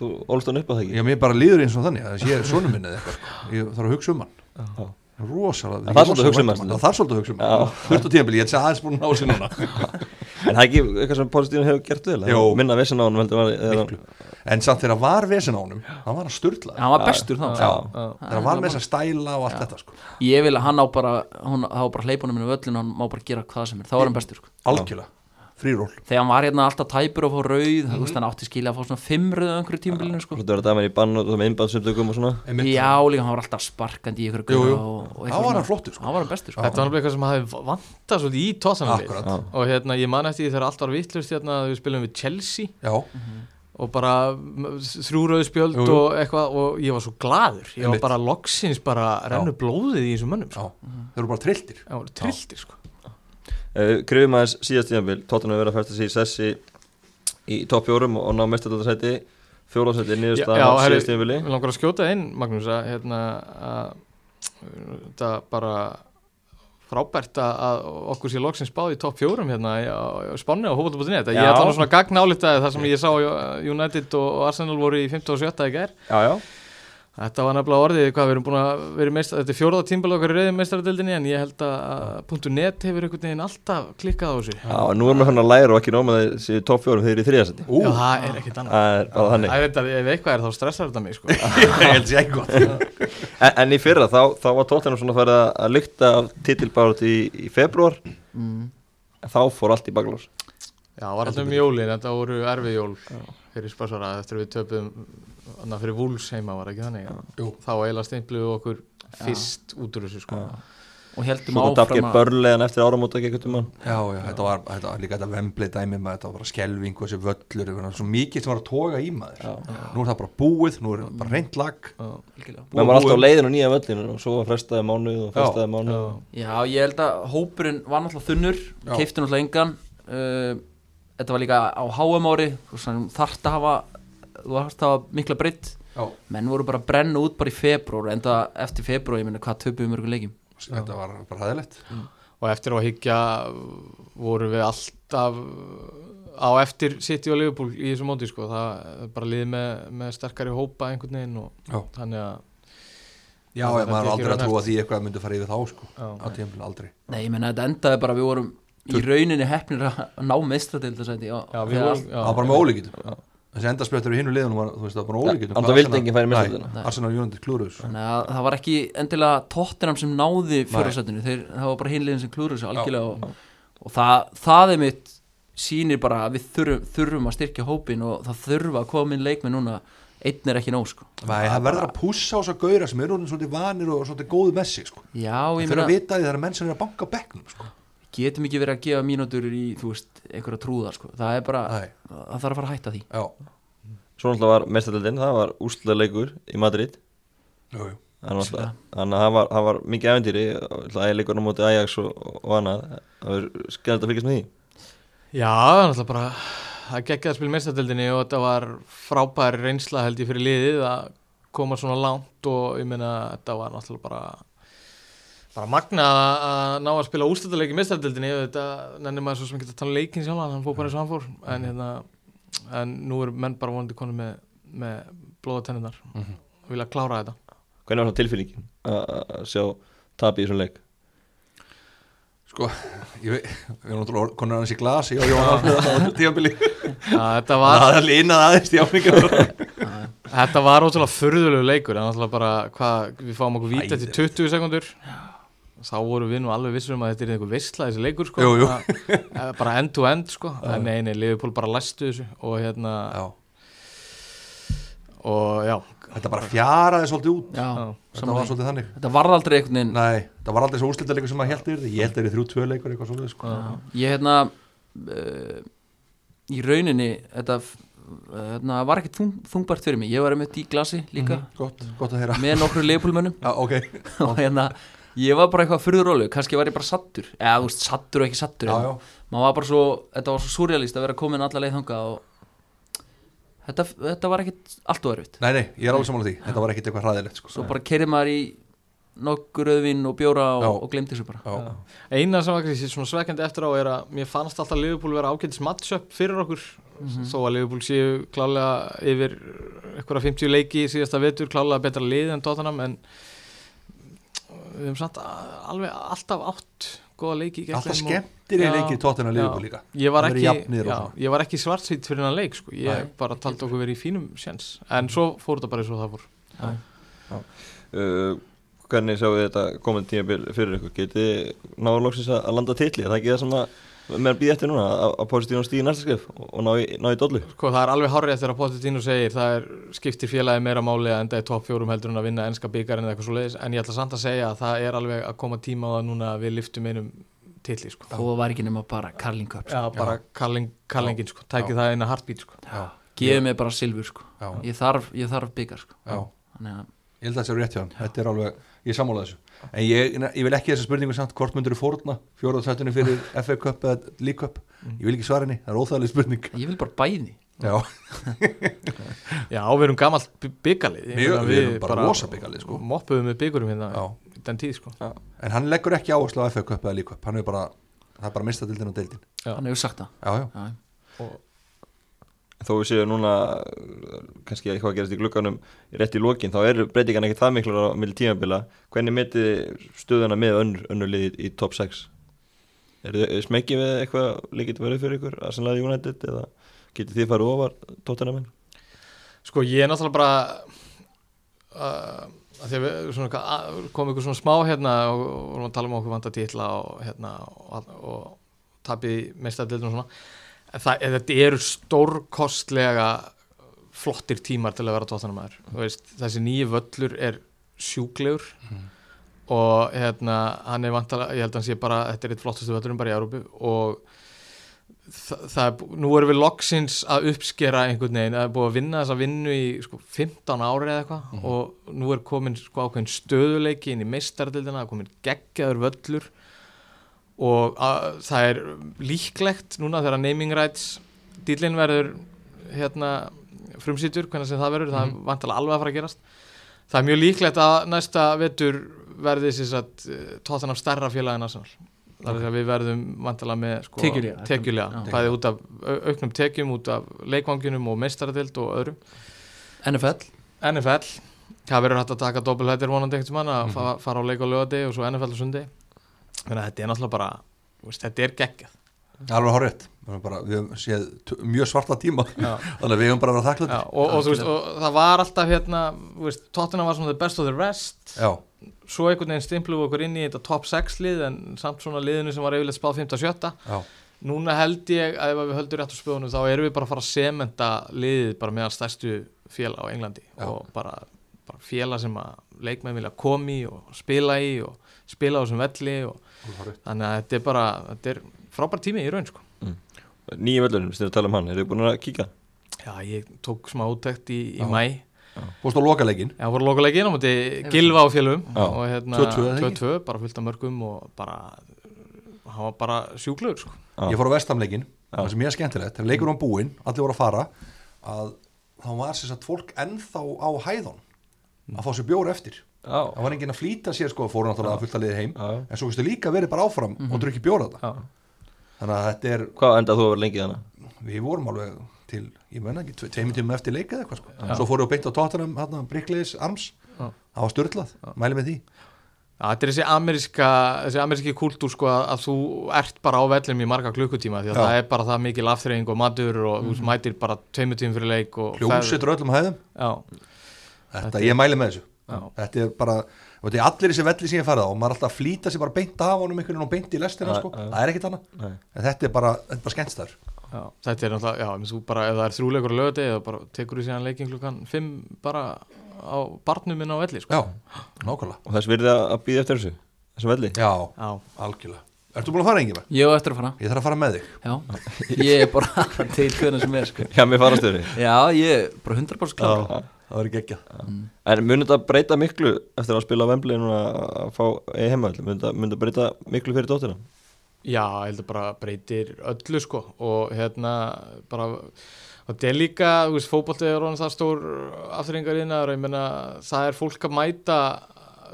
[SPEAKER 1] Þú ólst hann upp að það ekki
[SPEAKER 2] Já, mér bara líður eins og þannig, að ég er sonum minni eða eitthvað sko. ég þarf að hugsa um hann
[SPEAKER 1] Já.
[SPEAKER 2] rosalega,
[SPEAKER 1] En það er svolítið að hugsa um
[SPEAKER 2] rosalega
[SPEAKER 1] hann,
[SPEAKER 2] vænt hann. það er svolítið að hugsa um
[SPEAKER 1] Já.
[SPEAKER 2] hann, hlustu tíðanbili, ég held að aðeins búin að ná sér núna
[SPEAKER 1] En það er ekki eitthvað sem Pólitíðun hefur gert vel
[SPEAKER 2] Jó.
[SPEAKER 1] eða? Minna vesen á hann heldur var
[SPEAKER 2] Miklu. en samt þegar var vesen á honum hann var að sturla,
[SPEAKER 4] [LAUGHS] Hann var bestur þá
[SPEAKER 2] Já.
[SPEAKER 3] já,
[SPEAKER 2] þegar hann var með þess að stæla og allt þetta sko,
[SPEAKER 4] Ég vil að hann á bara hún, Það var bara hleypunum minn á völlinu Hann má bara gera hvað sem er, þá er hann bestur sko.
[SPEAKER 2] algjörlega fríról,
[SPEAKER 4] Þegar hann var hérna alltaf tæpur og fór rauð mm
[SPEAKER 2] Mhm.
[SPEAKER 4] -hmm. Hann átti skilja að fá svona fimm rauð á einhverju tímbilinu sko.
[SPEAKER 1] Þú verður að dæma hann í bann og það með innbæðsumtökum og svona
[SPEAKER 4] Já, líka hann var alltaf sparkandi í einhverju
[SPEAKER 2] Jú, jú.
[SPEAKER 4] gauða og,
[SPEAKER 2] Þá
[SPEAKER 4] og eitthvað
[SPEAKER 2] var
[SPEAKER 4] svona.
[SPEAKER 2] hann flottur, sko.
[SPEAKER 4] Hann var hann bestur sko.
[SPEAKER 3] þetta var alveg eitthvað sem hafði vantað svolítið í tóknun
[SPEAKER 2] akkurat
[SPEAKER 3] og hérna, ég man eftir því þegar allt var vittlust hérna, við spilum við Chelsea
[SPEAKER 2] já,
[SPEAKER 3] og bara m- þrjú rauðspjöld
[SPEAKER 2] Jú, jú.
[SPEAKER 3] og eitthvað og ég var svo gladur ég
[SPEAKER 2] Einmitt.
[SPEAKER 3] var bara loksins bara rennu blóðið í þessum mönnum
[SPEAKER 2] já,
[SPEAKER 3] sko.
[SPEAKER 2] þeir eru bara trilltir
[SPEAKER 3] það voru trilltir sko.
[SPEAKER 1] Eh, Krifum aðeins síðast tíðanbíl Tottenham hefur verið að fæsta sig í sessi í topp fjórum og ná mestardaldarsæti fjólasæti
[SPEAKER 3] já,
[SPEAKER 1] niðurstaðan
[SPEAKER 3] já,
[SPEAKER 1] á
[SPEAKER 3] herri,
[SPEAKER 1] síðast tíðanbíli
[SPEAKER 3] við langar að skjóta inn Magnús að hérna að, þetta bara frábært að- að okkur sé loksins báði í topp fjórum hérna í- á- á Spáni og hófaldabotinu þetta, ég
[SPEAKER 1] Já.
[SPEAKER 3] ætla nú svona gagnálitaði það sem ég sá í- United og Arsenal voru í 15 og 17 í gær
[SPEAKER 1] Já, já
[SPEAKER 3] Þetta var nefnilega orðið, hvað við erum búin að vera meist, þetta er fjórða tímbil okkar í reyðum meistaradeildinni en ég held að punktu .net hefur einhvern veginn alltaf klikkað á þessu.
[SPEAKER 1] Já, nú erum við hann að læra og ekki nóma þessi topp fjórum þeir eru í þriðasæti
[SPEAKER 2] ú,
[SPEAKER 3] Já, það er ekkert annað.
[SPEAKER 1] Það er bara þannig
[SPEAKER 3] Það er þetta, ef eitthvað er þá stressar þetta mig, sko.
[SPEAKER 2] ég held sér ekki gott
[SPEAKER 1] en, en í fyrra þá, þá var Tottenham svona farið að- að lykta af titilbárut í, í februar en þá fór allt í baklás
[SPEAKER 3] Já, var alltaf um jólin, þetta voru erfið jól fyrir spásvara eftir við töpuðum þannig að fyrir Wolves heima var ekki þannig
[SPEAKER 2] Jú.
[SPEAKER 3] þá eiginlega stimpluðu við okkur fyrst út úr þessu sko
[SPEAKER 4] og heldum
[SPEAKER 1] Svo dafkir
[SPEAKER 4] áfram að
[SPEAKER 1] börlegan eftir áramóta ekki eitthvað mann
[SPEAKER 2] Já, já, þetta var, þetta var líka þetta vemblið dæmi maður, þetta var bara skelving og þessi völlur, þetta var svo mikið sem var að toga í maður. Nú er það bara búið, nú er bara reynd lag.
[SPEAKER 4] Algjörlega.
[SPEAKER 1] Menn var alltaf á leiðinu nýja völlinu og svo frestaði mánuð og frestaði mánuð
[SPEAKER 3] já.
[SPEAKER 4] Já, ég held að hópurinn var náttúrulega þunnur,
[SPEAKER 2] Já.
[SPEAKER 4] keifti náttúrulega engan uh, Þetta var líka á HM ári þú veist, þannig þarft að hafa þú þarft að hafa mikla breytt
[SPEAKER 2] Já,
[SPEAKER 4] menn voru bara að brenna út bara í februar enda eftir februar, ég meina hvað töpuðum mörgum leikjum
[SPEAKER 2] þetta var bara hæðilegt.
[SPEAKER 3] og eftir á að higgja voru við alltaf á eftir City og Liverpool í þessu móti sko, það er bara liðið með, með sterkari hópa einhvern veginn og
[SPEAKER 2] Já,
[SPEAKER 3] þannig að
[SPEAKER 2] já,
[SPEAKER 3] Það
[SPEAKER 2] já maður
[SPEAKER 3] er
[SPEAKER 2] er
[SPEAKER 3] ekki
[SPEAKER 2] aldrei að
[SPEAKER 3] raunhæft.
[SPEAKER 2] trúa því eitthvað myndi fara yfir þá, sko.
[SPEAKER 3] Já.
[SPEAKER 2] Á tímfélag aldrei.
[SPEAKER 4] Nei, ég meina þetta endaði bara, við vorum í rauninni hefnir að að ná meistradildasæti og-
[SPEAKER 3] já, við
[SPEAKER 4] þegar
[SPEAKER 3] vorum,
[SPEAKER 2] Það var bara með ólíkitum. Þessi endarspjöttur í hinnu liðunum var, þú veist, það var bara ólíkitum.
[SPEAKER 1] Anda
[SPEAKER 2] Hvað
[SPEAKER 1] vildi
[SPEAKER 2] Arsenal-
[SPEAKER 1] enginn færi
[SPEAKER 2] Nei,
[SPEAKER 1] meistaratitilina.
[SPEAKER 4] Nei.
[SPEAKER 2] Arsenal United sko. klúruðs.
[SPEAKER 4] Þannig að það var ekki endilega Tottenham sem náði fjórasætinu þeir það var bara hinlegin sem klúður þessu algjörlega og, og það, það er mitt sýnir bara að við þurfum, þurfum að styrkja hópin og það þurfa að koma inn leikmið núna einn er ekki nóg sko
[SPEAKER 2] Nei, það verður að pússa á þess að gauðra sem eru orðin svolítið vanir og svolítið góðu með sig, sko.
[SPEAKER 4] Já,
[SPEAKER 2] Það
[SPEAKER 4] ég
[SPEAKER 2] fyrir
[SPEAKER 4] meina,
[SPEAKER 2] að vita að því það eru menn sem eru að banka á bekknum, sko.
[SPEAKER 4] getum ekki verið að gefa mínútur í, þú veist, einhverja trúðar sko það er bara,
[SPEAKER 2] Nei.
[SPEAKER 4] það þarf að fara að hætta því
[SPEAKER 2] Já,
[SPEAKER 1] Svo náttúrulega var mestardeldin, það var úrslutaleikur í Madrid
[SPEAKER 2] jú, jú.
[SPEAKER 1] Þannig að- þannig að það var, það var mikið eventýri Ægileikurinn á móti Ajax og, og annað Það var skemmt að fylgjast með því
[SPEAKER 3] Já, það er náttúrulega bara að gegja að spila meistadeldinni og þetta var frábær reynsla held ég fyrir liðið að koma svona langt og ég meina þetta var náttúrulega bara bara magna að ná að spila úrstættaleik í meistadeldinni og þetta nennir maður svo sem ekki að tala um leikin sjálf hann fór bara eins og hann fór en, hérna, en nú eru menn bara vonandi konu með, með blóðatenninar mm -hmm. vilja klára þetta
[SPEAKER 1] Hvernig var það tilfinningin að að sjá tapi í þessum leik?
[SPEAKER 2] Sko, ég veit, við erum náttúrulega konar aðeins í glasi og Jóhann Alfreð á [LAUGHS] þessu tíðanbili
[SPEAKER 3] að þetta var
[SPEAKER 2] Það er línað aðeins tíðanbingar
[SPEAKER 3] Þetta var ótrúlega furðulegu leikur en náttúrulega bara hvað, við fáum okkur víta til
[SPEAKER 2] Æðilegt.
[SPEAKER 3] 20 sekundur þá voru við nú alveg vissur um að þetta er einhver vissla þessi leikur sko
[SPEAKER 2] Jú, jú.
[SPEAKER 3] Að- bara end to end sko en nei, nei, Liverpool bara læstu þessu og hérna
[SPEAKER 2] Já,
[SPEAKER 3] og já,
[SPEAKER 2] þetta bara fjaraði svolítið út
[SPEAKER 4] Já,
[SPEAKER 3] Já,
[SPEAKER 2] Þetta var
[SPEAKER 4] samanlega,
[SPEAKER 2] svolítið þannig
[SPEAKER 4] þetta varð aldrei einhvern veginn
[SPEAKER 2] Nei, það var aldrei svo úrslita leikur sem maður held yfir því Ég held þeir eru þrjú tvö leikur eitthvað svolítið sko
[SPEAKER 4] Ég hérna uh, í rauninni þetta f- eh, hérna, var ekki þung, þungbært fyrir mig ég var einmitt í glasi líka
[SPEAKER 2] Gott, gott að heyra
[SPEAKER 4] með nokkru leifbólmönnum
[SPEAKER 2] Mhm. [LAUGHS] Já, ok
[SPEAKER 4] og hérna ég var bara eitthvað fyrir rólu kannski var ég bara sattur eða þú veist sattur og ekki sattur
[SPEAKER 2] Já,
[SPEAKER 4] en
[SPEAKER 2] já,
[SPEAKER 4] maður var bara svo þetta var svo surrealist að vera komin alla leið þangað og þetta, þetta var ekkit allt og erfitt
[SPEAKER 2] nei, nei, ég er alveg samanlega því Þetta var ekkit eitthvað hræðilegt sko
[SPEAKER 4] svo bara kerið maður í nokkur öðvin og bjóra og,
[SPEAKER 2] Já.
[SPEAKER 4] og glemdi þessu bara
[SPEAKER 2] Já,
[SPEAKER 3] eina sem var kannski svona svekkjandi eftir á er að mér fannst alltaf Liverpool vera ágætis matchup fyrir okkur
[SPEAKER 4] Mhm.
[SPEAKER 2] Mhm.
[SPEAKER 3] þó að Liverpool séu klálega yfir einhverja 50 leiki í síðasta vetur klálega betra lið en Tottenham en við höfum samt a- alveg alltaf átt góða leiki í gegnum
[SPEAKER 2] alltaf
[SPEAKER 3] og-
[SPEAKER 2] skemmtir í
[SPEAKER 3] Já.
[SPEAKER 2] leiki tóttina liðbúl líka
[SPEAKER 3] ég var
[SPEAKER 2] Það verið
[SPEAKER 3] ekki,
[SPEAKER 2] jafnir og
[SPEAKER 3] já,
[SPEAKER 2] svona.
[SPEAKER 3] ég var ekki svartsýtt fyrir hann leik sko. ég
[SPEAKER 4] Nei.
[SPEAKER 3] bara taldi okkur verið í fínum sjens en svo fór þetta bara eins og það fór
[SPEAKER 1] Uh, hvernig sjáu þið þetta komið tímabil fyrir ykkur? Getið þið náður loksins að að landa titli? Er Það er ekki það sem að meðan býði eftir núna að, að Positino stíði næsta skrif og, og ná, í, ná í dollu
[SPEAKER 3] sko, það er alveg hárið eftir að Pochettino segir það er, skiptir félagi meira máli að enda í topp fjórum heldur en að vinna enska byggarinn eða eitthvað svo leiðis en ég ætla samt að segja að það er alveg að koma tíma á það núna að við liftum einum tilli sko.
[SPEAKER 4] þó það var ekki nema bara Karling Cup sko.
[SPEAKER 3] já, bara kalling, kallingin sko. tækið það eina heartbeat sko.
[SPEAKER 2] Já,
[SPEAKER 4] gefið mér bara silfur sko.
[SPEAKER 2] já,
[SPEAKER 4] ég þarf, ég þarf byggar sko.
[SPEAKER 2] já
[SPEAKER 4] þannig að
[SPEAKER 2] Ég held að það sé rétt hjá hann, þetta er alveg, ég sammála þessu. En ég, ég vil ekki þessa spurningu samt, hvort myndur þú fórna fjóruða þættunni [LAUGHS] fyrir FA Cup eða League Cup? Ég vil ekki svara henni, það er óþægileg spurning.
[SPEAKER 4] ég vil bara bæði
[SPEAKER 2] Mm. [LAUGHS] Já,
[SPEAKER 3] já, við erum gamalt byggalið
[SPEAKER 2] Mjög, við erum bara rosa byggarlið, sko.
[SPEAKER 3] moppuðum með byggurum hérna
[SPEAKER 2] já.
[SPEAKER 3] í den tíð sko.
[SPEAKER 2] En hann leggur ekki áherslu á FA Cup eða League Cup, hann er bara, það er bara mista dildin og deildin.
[SPEAKER 3] Já.
[SPEAKER 4] hann hefur sagt það
[SPEAKER 2] Já, já,
[SPEAKER 4] Já.
[SPEAKER 1] þó við séu núna uh, kannski eitthvað að gerast í glugganum rétt í lokin, þá eru breytingan ekki það miklar á milli tímabila, hvernig metið þið stöðuna með önnur, önnur lið í, í top 6? Er þið smekkið við eitthvað líkit verið fyrir ykkur Arsenal United eða getið þið farið ofar tóttunamenn?
[SPEAKER 3] Sko ég er náttúrulega bara uh, að því að við svona, að- komum ykkur svona smá hérna og og vorum að tala um okkur vanda titla og hérna og, og tapið mestadildin og svona en það, en þetta eru stórkostlega flottir tímar til að vera tóttanamæður veist, þessi nýju völlur er sjúklegur og hérna, hann er vantala ég held að hann sé bara, þetta er eitt flottustu völlurinn bara í Európu og það, það er, bú- nú erum við loksins að uppskera einhvern veginn, það er búið að vinna þessa vinnu í sko, 15 ári eða eitthvað og nú er komin sko, ákveðin stöðuleiki inn í meistardildina, það er komin geggjaður völlur og að, það er líklegt núna þegar naming rights dýlinn verður hérna frumsýtur, hvernig sem það verður, það
[SPEAKER 2] Mhm.
[SPEAKER 3] er vantilega alveg að fara að gerast það er mjög líklegt að næsta vetur verði sér satt tóttan af stærra félagin Arsenal það er því að við verðum vantilega með sko,
[SPEAKER 5] Tekjulega.
[SPEAKER 3] tekjulega,
[SPEAKER 5] Já.
[SPEAKER 3] bæði út af au- auknum tekjum, út af leikvanginum og meistaradeild og öðrum
[SPEAKER 4] NFL
[SPEAKER 3] NFL, það verður hægt að taka doppelhættir vonandi einhvern mann að
[SPEAKER 2] Mhm.
[SPEAKER 3] fa fara á leik á lögadegi og svo NFL á sundi þannig að þetta er náttúrulega bara þú veist, þetta er geggjað
[SPEAKER 2] alveg horrið bara, við höfum séð t- mjög svarta tíma
[SPEAKER 3] Já.
[SPEAKER 2] [LAUGHS] þannig að við höfum bara að vera þakklætt
[SPEAKER 3] Já, og, og, þú veist, og það var alltaf hérna þú veist, Tottenham var svona the best of the rest
[SPEAKER 2] já,
[SPEAKER 3] svo einhvern veginn stimpluðu okkur inn í þetta top 6 lið en samt svona liðinu sem var yfirleitt spáð 5-7
[SPEAKER 2] já,
[SPEAKER 3] núna held ég að ef við höldum rétt á spöðunum þá erum við bara að fara að sementa liðið bara meðan stærstu félag á Englandi
[SPEAKER 2] Já.
[SPEAKER 3] og bara, bara félag sem að leikmenn vilja koma í og spila í og spila á þessum velli og
[SPEAKER 2] alveg horrið
[SPEAKER 3] þannig að þetta er bara þetta er frábær tími í raun sko
[SPEAKER 1] Nýju völlurinn, sem þið tala um hann, eru þið búin að kíka?
[SPEAKER 3] Já, ég tók smá úttekt í,
[SPEAKER 2] Já.
[SPEAKER 3] í mæ
[SPEAKER 2] búist á lokaleikin
[SPEAKER 3] Já, voru lokuleikin á móti Gilva á fjölum
[SPEAKER 1] Já.
[SPEAKER 3] og hérna
[SPEAKER 2] 2-2 eða ekki?
[SPEAKER 3] 2-2, bara fullt af mörgum og bara, hann var bara sjúklegur sko.
[SPEAKER 1] Já.
[SPEAKER 2] ég fór á vestamleikin, það sem ég er skemmtilegt þegar leikur var búinn, allir voru að fara að þá var sér satt fólk ennþá á hæðan að fá sér bjór eftir það
[SPEAKER 1] Já,
[SPEAKER 2] var enginn að flýta sér sko, fóru náttúrulega fullt að liðið heim
[SPEAKER 1] Já.
[SPEAKER 2] en svo kannski líka verið bara áfram og drukki bjór að
[SPEAKER 3] Já.
[SPEAKER 2] það þannig að þetta er,
[SPEAKER 1] hvað endað þú að vera lengi þannig?
[SPEAKER 2] við vorum alveg til, ég menna ekki, tve- tveimur tímum eftir leika eða eitthvað sko, svo fóru við beint á tóttunum hérna, Brickleys Arms,
[SPEAKER 3] Já.
[SPEAKER 2] það var störtlað mæli með því,
[SPEAKER 3] Já, þetta er þessi ameríska, þessi ameríski kultúr sko að, að þú ert bara á vellum í marga klukkutíma því að
[SPEAKER 2] Já.
[SPEAKER 3] það er bara það mikil afþreying og matur og þú mætir bara tveimur tímum fyrir leik og
[SPEAKER 2] hljómsveitur á öllum hæðum
[SPEAKER 3] ferð- Já,
[SPEAKER 2] þetta, ég mæli með þessu
[SPEAKER 3] Já.
[SPEAKER 2] þetta er bara, þetta er allir þessi velli sem ég farið á og maður er alltaf að flýta sér bara beint af honum einhvern veginn og beint í lestina
[SPEAKER 1] Já,
[SPEAKER 2] sko,
[SPEAKER 1] já.
[SPEAKER 2] það er ekkit annað
[SPEAKER 1] Nei.
[SPEAKER 2] en þetta er bara, þetta er bara skemmst þar
[SPEAKER 3] já, þetta er náttúrulega, já, ég meina, þú bara ef það er þrjúleikur á lögadegi þá bara tekur þú síðan leikin klukkan fimm bara á barnum minn á velli sko.
[SPEAKER 2] já, nákvæmlega
[SPEAKER 1] Og þess virði að býða eftir þessu, þessum velli?
[SPEAKER 2] já,
[SPEAKER 3] Já,
[SPEAKER 2] algjörlega, ertu búin að fara enginn
[SPEAKER 4] ég á eftir að fara
[SPEAKER 2] ég þarf að fara með þig
[SPEAKER 4] já, ég er bara [LAUGHS] til hvernig sem er sko.
[SPEAKER 1] Já, mér farast þurri
[SPEAKER 4] já, ég er bara 100% klár
[SPEAKER 2] það verður geggjað
[SPEAKER 1] En munir þetta breyta miklu eftir að spila Vembli núna að fá heimavöld munir þetta- munir þetta breyta miklu fyrir dóttina?
[SPEAKER 3] Já, ég held að bara breytir öllu sko og hérna bara og þetta er líka, þú veist, fótbolti er orðan það stór afturringar innar ég meina, það er fólk að mæta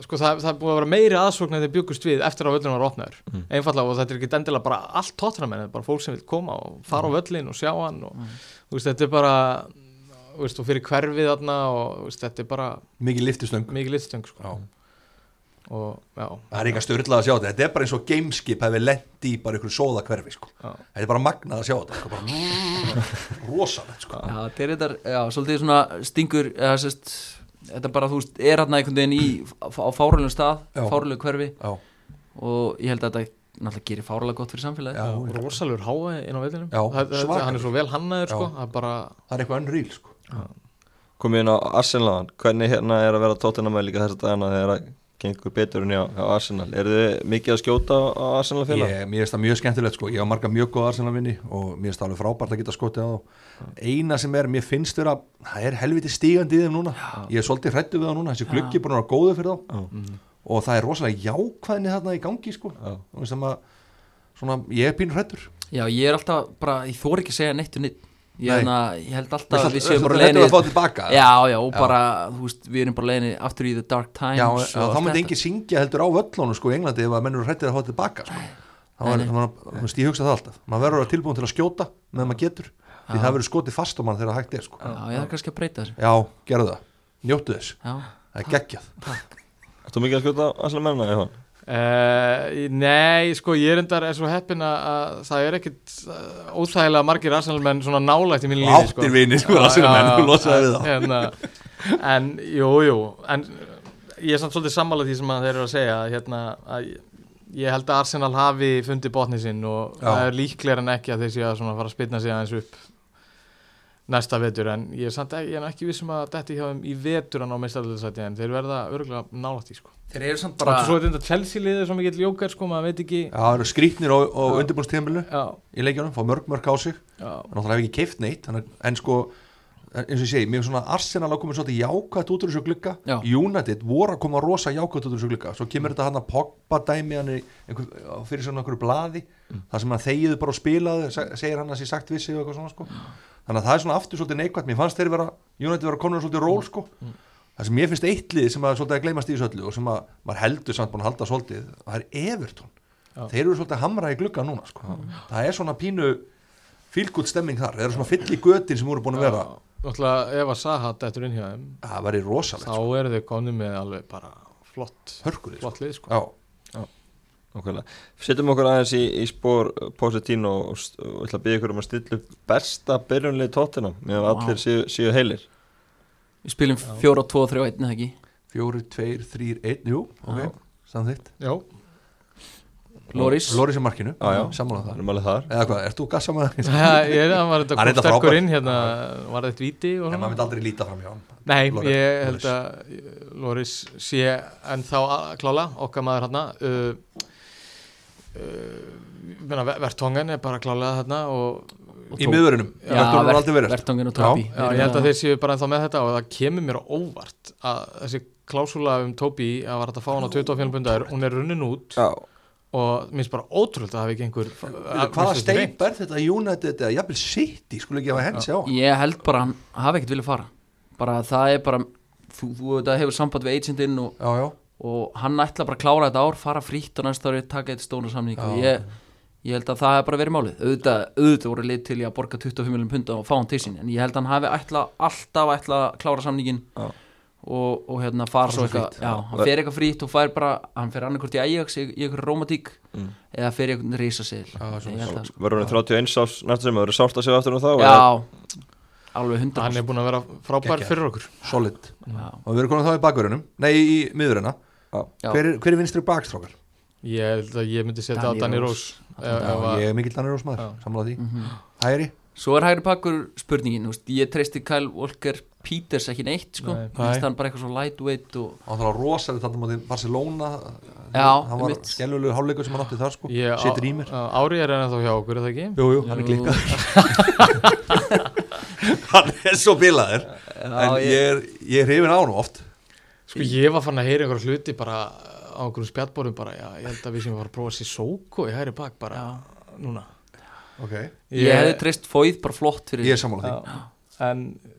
[SPEAKER 3] sko, það, það er búið að vera meiri aðsókn en þeir byggust við eftir að völlin var opnaður
[SPEAKER 2] Mm.
[SPEAKER 3] einfallega og þetta er ekki dendilega bara allt tóttramenn, þetta er bara fólk sem vil koma og fara
[SPEAKER 2] Mm.
[SPEAKER 3] á völlin og sjá hann og þú veist, þetta er bara þú veist, og fyrir hverfið þarna og þú veist, þetta er bara
[SPEAKER 2] mikið liftistöng
[SPEAKER 3] mikið litstöng sko
[SPEAKER 2] Já.
[SPEAKER 3] og já,
[SPEAKER 2] það er ekki að störla að sjá þetta, þetta er bara eins og gameskip hefur lent í bara ykkur sóðakverfi sko.
[SPEAKER 3] Já.
[SPEAKER 2] þetta er bara magnað að sjá þetta sko. bara, [LAUGHS] rosalegt sko.
[SPEAKER 4] Já, þetta er þetta, já, svolítið svona stingur, eða sérst, þetta bara, þú veist, er hann einhvern veginn í, á fáralegu stað,
[SPEAKER 2] Já.
[SPEAKER 4] fáralegu hverfi
[SPEAKER 2] já,
[SPEAKER 4] og ég held að þetta náttúrulega gerir fáralega gott fyrir samfélagi.
[SPEAKER 2] já,
[SPEAKER 3] Já, rosalur háa inn á vellinum
[SPEAKER 2] Já,
[SPEAKER 3] Það- það-
[SPEAKER 2] svakalegur.
[SPEAKER 3] hann er svo vel hannaður sko,
[SPEAKER 2] Já.
[SPEAKER 3] það er bara
[SPEAKER 2] það er eitthvað unreal sko.
[SPEAKER 1] Komið inn á Arsenal, hvernig hérna er að vera tóttina með líka þessa dagana þegar það gengur betur en á, á Arsenal? Eru þið mikið að skjóta á á Arsenal félag?
[SPEAKER 2] Ég, mér finnst það mjög skemmtilegt sko, ég á marga mjög góða Arsenal-vinni og mér finnst það alveg frábært að geta skotið á þá eina sem er, mér finnst þurra það er helviti stígandi í þeim núna ég er svolítið hrættu við það núna, þessi gluggi er búin að vera góðu fyrir þá og það er rosalega jákvæðinni þarna í gangi sko Þú veist, sem að, svona, ég er pínur hrættur
[SPEAKER 4] Já, ég er alltaf bara, ég þór ekki að segja neitt og neitt. Ég,
[SPEAKER 2] Nei.
[SPEAKER 4] hana, ég held alltaf
[SPEAKER 2] Viltu
[SPEAKER 4] að við
[SPEAKER 2] að-
[SPEAKER 4] séum
[SPEAKER 2] viltu
[SPEAKER 4] bara
[SPEAKER 2] að þetta
[SPEAKER 4] leiðinni-
[SPEAKER 2] að fá tilbaka?
[SPEAKER 4] Já, já, og bara, þú veist, við erum bara leiðinni aftur í the dark times
[SPEAKER 2] Já,
[SPEAKER 4] og
[SPEAKER 2] en- en
[SPEAKER 4] allt
[SPEAKER 2] þá myndi
[SPEAKER 4] þetta.
[SPEAKER 2] engin syngja heldur á völlunum sko í Englandi ef að mennur hrættið að fá tilbaka sko. þá er, man, man, ég hugsa það alltaf maður verður að vera tilbúin til að skjóta meðan maður getur því það verður skotið fast á mann þegar hægt er sko.
[SPEAKER 4] Já, ég þarf kannski að breyta þessu.
[SPEAKER 2] já, gerðu það, njóttu þess
[SPEAKER 4] Já,
[SPEAKER 2] það er geggjað
[SPEAKER 1] Ertu mikið að skjóta á Arsenal mennina, Jóhann?
[SPEAKER 3] uh, nei, sko ég er endar er svo heppin að- að það er ekkit uh, óþægilega margir arsenalmenn svona nálægt í mínu lífi sko.
[SPEAKER 2] Áttir vini, sko,
[SPEAKER 3] Já,
[SPEAKER 2] Arsenalmenn,
[SPEAKER 3] já,
[SPEAKER 2] þú losaði
[SPEAKER 3] já,
[SPEAKER 2] við þá.
[SPEAKER 3] hérna, en, jú, jú en ég er samt svolítið sammála því sem að þeir eru að segja að, hérna, að ég- ég held að Arsenal hafi fundið botni sinn og
[SPEAKER 2] Já.
[SPEAKER 3] það er líklegur en ekki að þeir séu að svona fara að spilna sig aðeins upp næsta vetur en ég er, samt, ekki- ég er nú ekki vissum að þetta hjá þeim í vetur að ná meistarleðsæti en þeir verða örgulega nálægt í sko
[SPEAKER 4] Þeir eru samt
[SPEAKER 3] Bara...
[SPEAKER 4] bara
[SPEAKER 3] og svo er þetta Chelsea liðið sem ekki ljókar sko maður veit ekki
[SPEAKER 2] Já, það eru skrítnir á, á
[SPEAKER 3] Já.
[SPEAKER 2] undirbúrstíðanbílu
[SPEAKER 3] já,
[SPEAKER 2] í leikjunum, fá mörg mörg á sig
[SPEAKER 3] já,
[SPEAKER 2] og náttúrulega hef ekki keift neitt þannig, að- en sko, eins og ég segi mér er svona Arsenal að koma svolítið jákvætt út úr þessu glugga
[SPEAKER 4] Já.
[SPEAKER 2] United voru að koma rosa jákvætt út úr þessu glugga svo kemur þetta hann að Pogba dæmi hann í einhver, á- fyrir svona einhverju blaði þar sem hann þegiðu bara og spilaðu se- segir hann að sé sagt vissi og eitthvað svona sko. þannig að það er svona aftur svolítið neikvætt mér fannst þeir vera, United vera konur svolítið ról sko. það sem ég finnst eitt lið sem að svolítið að gleymast í þessu öllu og sem að maður heldur samt búin að halda svolítið það er Everton
[SPEAKER 3] Já.
[SPEAKER 2] þeir eru svolítið að hamra í glugga núna sko. það er svona pínu fylgútt stemming þar, þeir eru svona fyll í götin sem voru búin að vera,
[SPEAKER 3] náttúrulega ef að Saha dættur inn hjá þeim
[SPEAKER 2] það væri rosalegt
[SPEAKER 3] þá
[SPEAKER 2] sko.
[SPEAKER 3] eru þeir komnið með alveg bara flott
[SPEAKER 2] hörkulið, sko.
[SPEAKER 3] flott lið sko
[SPEAKER 2] já,
[SPEAKER 1] Nákvæmlega. Setjum okkur aðeins í, í spór Positino og, st- og ætla að byggja ykkur um að stilla upp besta byrjunlið tóttina meðan
[SPEAKER 4] Vá.
[SPEAKER 1] allir séu, séu heilir
[SPEAKER 4] Við spilum 4, 2, 3 og 1 eða ekki
[SPEAKER 2] fjóri, tveir, þrýr, einn jú,
[SPEAKER 4] Já.
[SPEAKER 2] ok, samþýtt
[SPEAKER 3] já,
[SPEAKER 4] Loris
[SPEAKER 2] Loris í markinu,
[SPEAKER 1] Já, já.
[SPEAKER 2] sammála
[SPEAKER 1] Það
[SPEAKER 2] það
[SPEAKER 1] er alveg þar
[SPEAKER 2] eða hvað, ert þú gassa maður?
[SPEAKER 3] ég er að var
[SPEAKER 2] Hann er
[SPEAKER 3] þetta
[SPEAKER 2] þetta
[SPEAKER 3] kom sterkur
[SPEAKER 2] frábær.
[SPEAKER 3] inn hérna var þetta víti
[SPEAKER 2] en
[SPEAKER 3] og
[SPEAKER 2] maður
[SPEAKER 3] svona
[SPEAKER 2] myndi aldrei líta fram hjá hann
[SPEAKER 3] Nei,
[SPEAKER 2] Loris-
[SPEAKER 3] ég held að eh, Loris sé en þá klála okkar maður hérna uh, uh, Vertongen er bara klálega hérna og
[SPEAKER 4] og
[SPEAKER 2] í
[SPEAKER 4] Tobi.
[SPEAKER 2] miðurunum, þetta voru aldrei verið
[SPEAKER 4] Vertongen og
[SPEAKER 2] Já,
[SPEAKER 4] Tobi
[SPEAKER 3] Já, ég held að þeir séu bara ennþá með þetta og það kemur mér á óvart að þessi klásula um Tobi að var þetta að fá hann á 25 pundar, hún er runnin út
[SPEAKER 1] Já,
[SPEAKER 3] og minnst bara ótrúld að það hafi ekki einhver að-
[SPEAKER 2] hvaða
[SPEAKER 3] minnst þetta reynt.
[SPEAKER 2] steip er þetta United eða jafnvel City skulle ekki hafa hensi á hann?
[SPEAKER 4] Ég held bara að hann hafi ekkert vilja fara bara það er bara þú, þú þetta hefur samband við agentinn og,
[SPEAKER 2] já, já,
[SPEAKER 4] og hann ætla bara að klára þetta ár fara frítt og næsta ári taka eitt stóna samning
[SPEAKER 2] Já.
[SPEAKER 4] og ég, ég held að það hef bara verið málið auðvitað, auðvitað voru lið til í að borga 25 miljón punda og fá hann til sín en ég held að hann hafi ætla, alltaf ætla að klára samningin
[SPEAKER 1] Já.
[SPEAKER 4] og, og hérna fara svo eitthvað já, hann fer eitthvað frítt og fær bara hann fer annarkvort í Ajax í, í eitthvað romantík
[SPEAKER 1] Mm.
[SPEAKER 4] eða fer í eitthvað risaseil
[SPEAKER 2] Já, svona-
[SPEAKER 1] verður hann 31 árs næsta sem verður sárt að segja aftur um þá eða?
[SPEAKER 4] Já, alveg
[SPEAKER 3] hann
[SPEAKER 4] 100%
[SPEAKER 3] er búin að vera frábær
[SPEAKER 2] Gekkjaður.
[SPEAKER 3] fyrir okkur
[SPEAKER 2] solid
[SPEAKER 4] Já.
[SPEAKER 2] og við erum komin þá í bakverðunum, nei í miðuruna
[SPEAKER 1] Já.
[SPEAKER 4] Já.
[SPEAKER 2] hver, er- hver er vinstri bakstrókar?
[SPEAKER 3] ég held að ég myndi setja á
[SPEAKER 4] Danny
[SPEAKER 3] Danny
[SPEAKER 4] Rose.
[SPEAKER 3] Rose ef- ef að-
[SPEAKER 2] ég er mikill Danir Rósmaður,
[SPEAKER 3] Já.
[SPEAKER 2] samla því
[SPEAKER 4] Mhm.
[SPEAKER 2] Hæri,
[SPEAKER 4] Svo er hægri pakkur spurningin, þú veist, ég treysti Kyle Walker Peters ekki neitt, sko
[SPEAKER 3] Nei.
[SPEAKER 4] Mér finnst hann bara eitthvað svo lightweight og
[SPEAKER 2] hann þarf að rosalega þetta mútið Barcelona
[SPEAKER 4] Já,
[SPEAKER 2] hann var
[SPEAKER 4] einmitt.
[SPEAKER 2] skellulegur hálfleikur sem hann átti þar sko,
[SPEAKER 3] ég á-
[SPEAKER 2] setur í mér
[SPEAKER 3] á- Ári er ennþá hjá okkur, er það ekki?
[SPEAKER 2] jú, jú, hann er klikkað [LAUGHS] hann er svo bilaður en ég er, ég er hrifin á hann oft
[SPEAKER 3] Sko ég var fann að heyra einhverja hluti bara á einhverjum spjallbórum bara, já, ég held að við sem var að prófa sér sóko í hægri bak bara núna
[SPEAKER 2] okay.
[SPEAKER 4] ég hefði treyst fóið bara flott fyrir
[SPEAKER 2] ég er sammála því
[SPEAKER 3] Já, En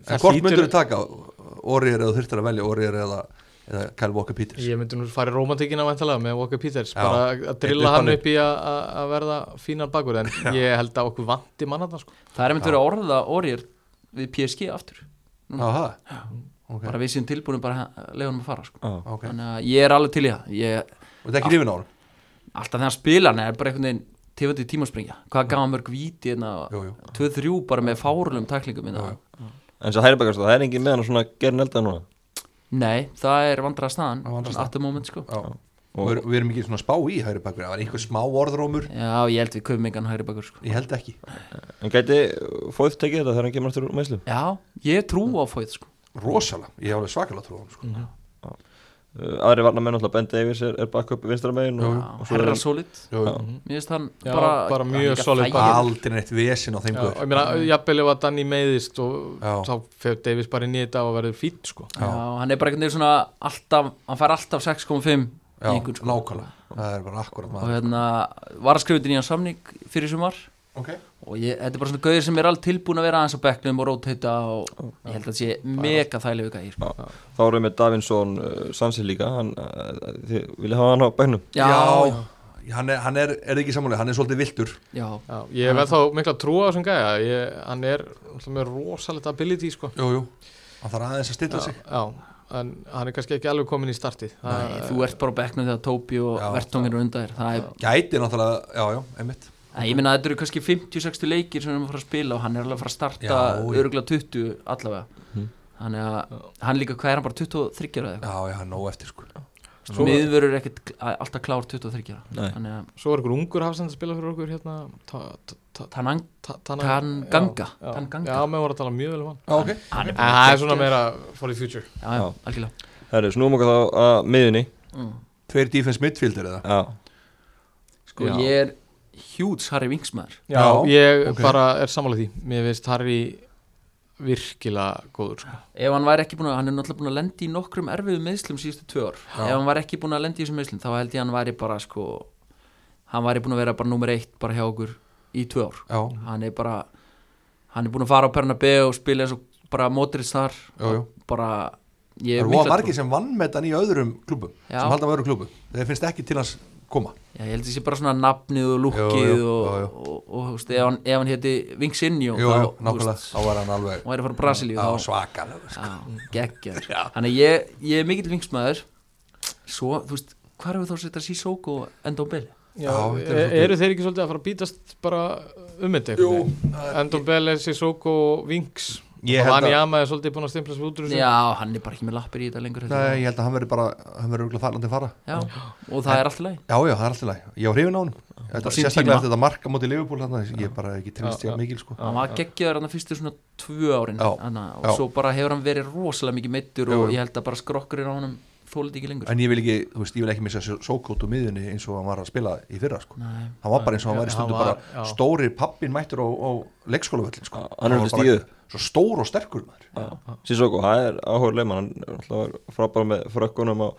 [SPEAKER 2] en hvort myndur þú taka orðir eða þú þurftir að velja orðir eða, eða Kyle Walker Peters
[SPEAKER 3] Ég myndi nú fara í romantikina væntalega með Walker Peters
[SPEAKER 2] Já.
[SPEAKER 3] bara að drilla
[SPEAKER 2] Upp
[SPEAKER 3] hann
[SPEAKER 2] hann
[SPEAKER 3] upp í að- að að verða fínan bakur en ég held að okkur vanti manna það sko
[SPEAKER 4] Það er einmitt verið að orða orðir við PSG aftur
[SPEAKER 2] Aha, ok, Ah,
[SPEAKER 4] bara við séum tilbúinum bara að leiða hann að fara, sko
[SPEAKER 1] Já.
[SPEAKER 2] ok
[SPEAKER 4] Þannig að ég er alveg til í það ég,
[SPEAKER 2] og þetta er ekki hrifin á hann
[SPEAKER 4] Alltaf þegar hann spila hann er bara einhvern veginn tefandi tímaspringja, hvað gaf hann mörg víti
[SPEAKER 2] Jú, jú.
[SPEAKER 4] 2-3 bara með hérna? fárlum taklingum jú, jú.
[SPEAKER 1] En þess að hæri bakast það er engin með hann svona gerin elda núna
[SPEAKER 4] Nei, það er vandraða staðan
[SPEAKER 2] Það er vandræðastaðan. Ah.
[SPEAKER 4] At the moment, sko
[SPEAKER 2] Já. og við, við erum ekki svona spá í hægri bakverð það var einhver smá orðrómur,
[SPEAKER 4] Já, ég held við köfum engan hægri bakur sko.
[SPEAKER 2] ég held ekki
[SPEAKER 1] En gæti uh, fóð tekið þetta þegar hann kemur aftur úr meðslum
[SPEAKER 4] Já, ég trú á fóið sko.
[SPEAKER 2] rosalega, ég hef alveg svakalega trú á hann sko.
[SPEAKER 1] Uh, Aðri varna menn alltaf Ben Davies er, er bakk upp vinstra megin og,
[SPEAKER 4] Já,
[SPEAKER 1] og svo
[SPEAKER 4] Herra
[SPEAKER 1] er
[SPEAKER 4] solid
[SPEAKER 2] Jú, jú.
[SPEAKER 4] Mér finnst hann
[SPEAKER 3] Já,
[SPEAKER 4] bara,
[SPEAKER 3] bara mjög
[SPEAKER 4] líka
[SPEAKER 3] solid
[SPEAKER 4] þægilegur.
[SPEAKER 3] bakvörður.
[SPEAKER 2] aldrei neitt vesen á þeim
[SPEAKER 3] Já, og
[SPEAKER 2] guður
[SPEAKER 3] ég meina, jafnvel ef að Danny meiðist og
[SPEAKER 2] Já.
[SPEAKER 3] þá fer Davis bara inn í þetta og verður fínt sko
[SPEAKER 4] Já, hann er bara einhvern veginn svona alltaf, hann fær alltaf 6,5 í
[SPEAKER 2] já,
[SPEAKER 4] einhvern sko
[SPEAKER 2] nákvæmlega, það er bara akkurat
[SPEAKER 4] og
[SPEAKER 2] maður
[SPEAKER 4] hérna var að skrifa undir nýjan samning fyrir sumar
[SPEAKER 2] ok,
[SPEAKER 4] og ég, þetta er bara svona gauðir sem er allt tilbúin að vera aðeins á bekknum og rótauta og ég held að þetta sé mega þægilegu gæði sko.
[SPEAKER 1] þá erum við með Davinson uh, Sansi líka hann, uh, Þið vilja hafa hann á bænum
[SPEAKER 4] Já, já,
[SPEAKER 2] hann er, hann er, er það ekki sammálega, hann er svolítið viltur
[SPEAKER 4] já.
[SPEAKER 3] Já, ég verð þá mikla trú á þessum gæja ég, hann er alltaf með rosalegt ability sko
[SPEAKER 2] jú, jú. hann þarf aðeins að stilla
[SPEAKER 3] já,
[SPEAKER 2] sig
[SPEAKER 3] já, en hann er kannski ekki alveg komin í startið Það-
[SPEAKER 4] Nei, þú ert bara á bekknum þegar Tóbi og
[SPEAKER 2] Já.
[SPEAKER 4] Vertongin eru undan þér það er
[SPEAKER 2] gæti náttúrulega, já, já, einmitt
[SPEAKER 4] Nei, ég meina þetta eru kannski 50-60 leikir sem við erum að fara að spila og hann er alveg að fara að starta
[SPEAKER 2] Já, Mhm. já.
[SPEAKER 4] öruglega 20 allavega þannig að hann líka, hvað er hann bara 23 eða eitthvað
[SPEAKER 2] já, já, nóg eftir sko
[SPEAKER 1] Svo-
[SPEAKER 4] miðvörur er ekkert kl- að- alltaf klár 23 ára.
[SPEAKER 1] Nei.
[SPEAKER 4] þannig að
[SPEAKER 3] Svo er ykkur ungur hafsend að spila fyrir okkur hérna ta- ta- ta-
[SPEAKER 4] Tanang,
[SPEAKER 3] ta- Tana-
[SPEAKER 4] Tanganga
[SPEAKER 3] Já, já.
[SPEAKER 4] Tanganga
[SPEAKER 3] Já, maður voru að tala mjög vel um hann
[SPEAKER 2] Já, ok
[SPEAKER 4] hann
[SPEAKER 3] En það er svona meira for the future
[SPEAKER 4] já, já,
[SPEAKER 1] Já.
[SPEAKER 4] algjörlega
[SPEAKER 1] Herri, snúum okkar þá að miðunni
[SPEAKER 4] mm.
[SPEAKER 2] Tveir defense midfielder eða
[SPEAKER 1] Já,
[SPEAKER 4] sko
[SPEAKER 1] Já.
[SPEAKER 4] ég er hjúts Harry Wingsmaður
[SPEAKER 3] Já,
[SPEAKER 2] Já,
[SPEAKER 3] ég
[SPEAKER 2] ok.
[SPEAKER 3] bara er sammála því Mér finnst Harry virkilega góður sko.
[SPEAKER 4] ef hann væri ekki búin að, hann er náttúrulega búin að lendi í nokkrum erfiðum meðslum síðustu tvö ár ef hann væri ekki búin að lendi í þessum meðslum þá held ég að hann væri bara sko hann væri búin að vera bara nummer eitt bara hjá okkur í tvö ár
[SPEAKER 2] Já,
[SPEAKER 4] hann er bara hann er búin að fara á Bernabeu og spila eins og bara mótrist þar
[SPEAKER 2] já, já
[SPEAKER 4] bara
[SPEAKER 2] Það
[SPEAKER 4] ég
[SPEAKER 2] eru
[SPEAKER 4] er
[SPEAKER 2] voða
[SPEAKER 4] mikla
[SPEAKER 2] margir
[SPEAKER 4] trú-
[SPEAKER 2] sem vann með hann í öðrum klubum
[SPEAKER 4] Já.
[SPEAKER 2] sem halda með öðrum klubum þeir finnst ekki til hans koma
[SPEAKER 4] Já, ég held að það sé bara svona nafnið og lukkið
[SPEAKER 2] Jú, jú,
[SPEAKER 4] og,
[SPEAKER 2] jú, jú.
[SPEAKER 4] og, og, og þú veist, ef hann, ef hann héti Vingsinjó
[SPEAKER 2] Jú, jú, nákvæmlega, þá var hann alveg sko.
[SPEAKER 4] og væri að fara Brasilíu
[SPEAKER 2] Já,
[SPEAKER 4] þá
[SPEAKER 2] svakalega
[SPEAKER 4] Já, geggjaður Þannig að ég, ég er mikill vingsmaður Svo, þú veist, hvað erum við þá að setja Sissoko og enda á byll?
[SPEAKER 3] Já,
[SPEAKER 2] Já, þetta er
[SPEAKER 3] e-
[SPEAKER 2] svolítið-
[SPEAKER 3] Eru þeir ekki svolítið að fara að bítast bara um þetta
[SPEAKER 2] Jú,
[SPEAKER 3] einhvern veginn? Endon Bell er Sissoko og Vinks
[SPEAKER 2] Ég
[SPEAKER 3] og
[SPEAKER 2] held
[SPEAKER 3] Vani
[SPEAKER 2] að-
[SPEAKER 3] Jama er svolítið búin að stimpla svo út úr þessu
[SPEAKER 4] Já, hann er bara ekki með lappir í þetta lengur heldur
[SPEAKER 2] Nei, ég held að hann verður bara, hann verður örugglega þarlandi að fara
[SPEAKER 4] en- Já, og það er allt í lagi
[SPEAKER 2] Já, já, það er alltaf læg, ég á hrifin á hann
[SPEAKER 4] Á sínum
[SPEAKER 2] Sérstaklega
[SPEAKER 4] tíma.
[SPEAKER 2] eftir þetta marka móti Liverpool hann, ég er bara ekki trist
[SPEAKER 3] Já,
[SPEAKER 2] hjá
[SPEAKER 3] já.
[SPEAKER 2] mikil sko
[SPEAKER 4] Hann var geggjaður hann að fyrstu svona tvö árin
[SPEAKER 2] Já,
[SPEAKER 4] hana, og
[SPEAKER 2] já.
[SPEAKER 4] svo bara hefur hann verið rosalega mikið meittur
[SPEAKER 2] Jú,
[SPEAKER 4] og
[SPEAKER 2] jú.
[SPEAKER 4] ég held að bara skrokkurinn á honum þólið ekki lengur
[SPEAKER 2] En ég vil ekki, þú veist, ég vil ekki missa sókót úr miðunni eins og hann var að spila í fyrra sko
[SPEAKER 4] Nei,
[SPEAKER 2] Hann var bara eins og hann
[SPEAKER 3] Já,
[SPEAKER 2] var í stundu
[SPEAKER 3] hann var-
[SPEAKER 2] bara
[SPEAKER 3] já.
[SPEAKER 2] stóri pappin mættur á, á leikskólavöllin sko
[SPEAKER 1] Já, hann er
[SPEAKER 2] var
[SPEAKER 1] undir
[SPEAKER 2] bara
[SPEAKER 1] stíu.
[SPEAKER 2] Svo stór og sterkur maður
[SPEAKER 1] Sissoko, það er áhörlega mann hann er alltaf frábæra með frökkunum á,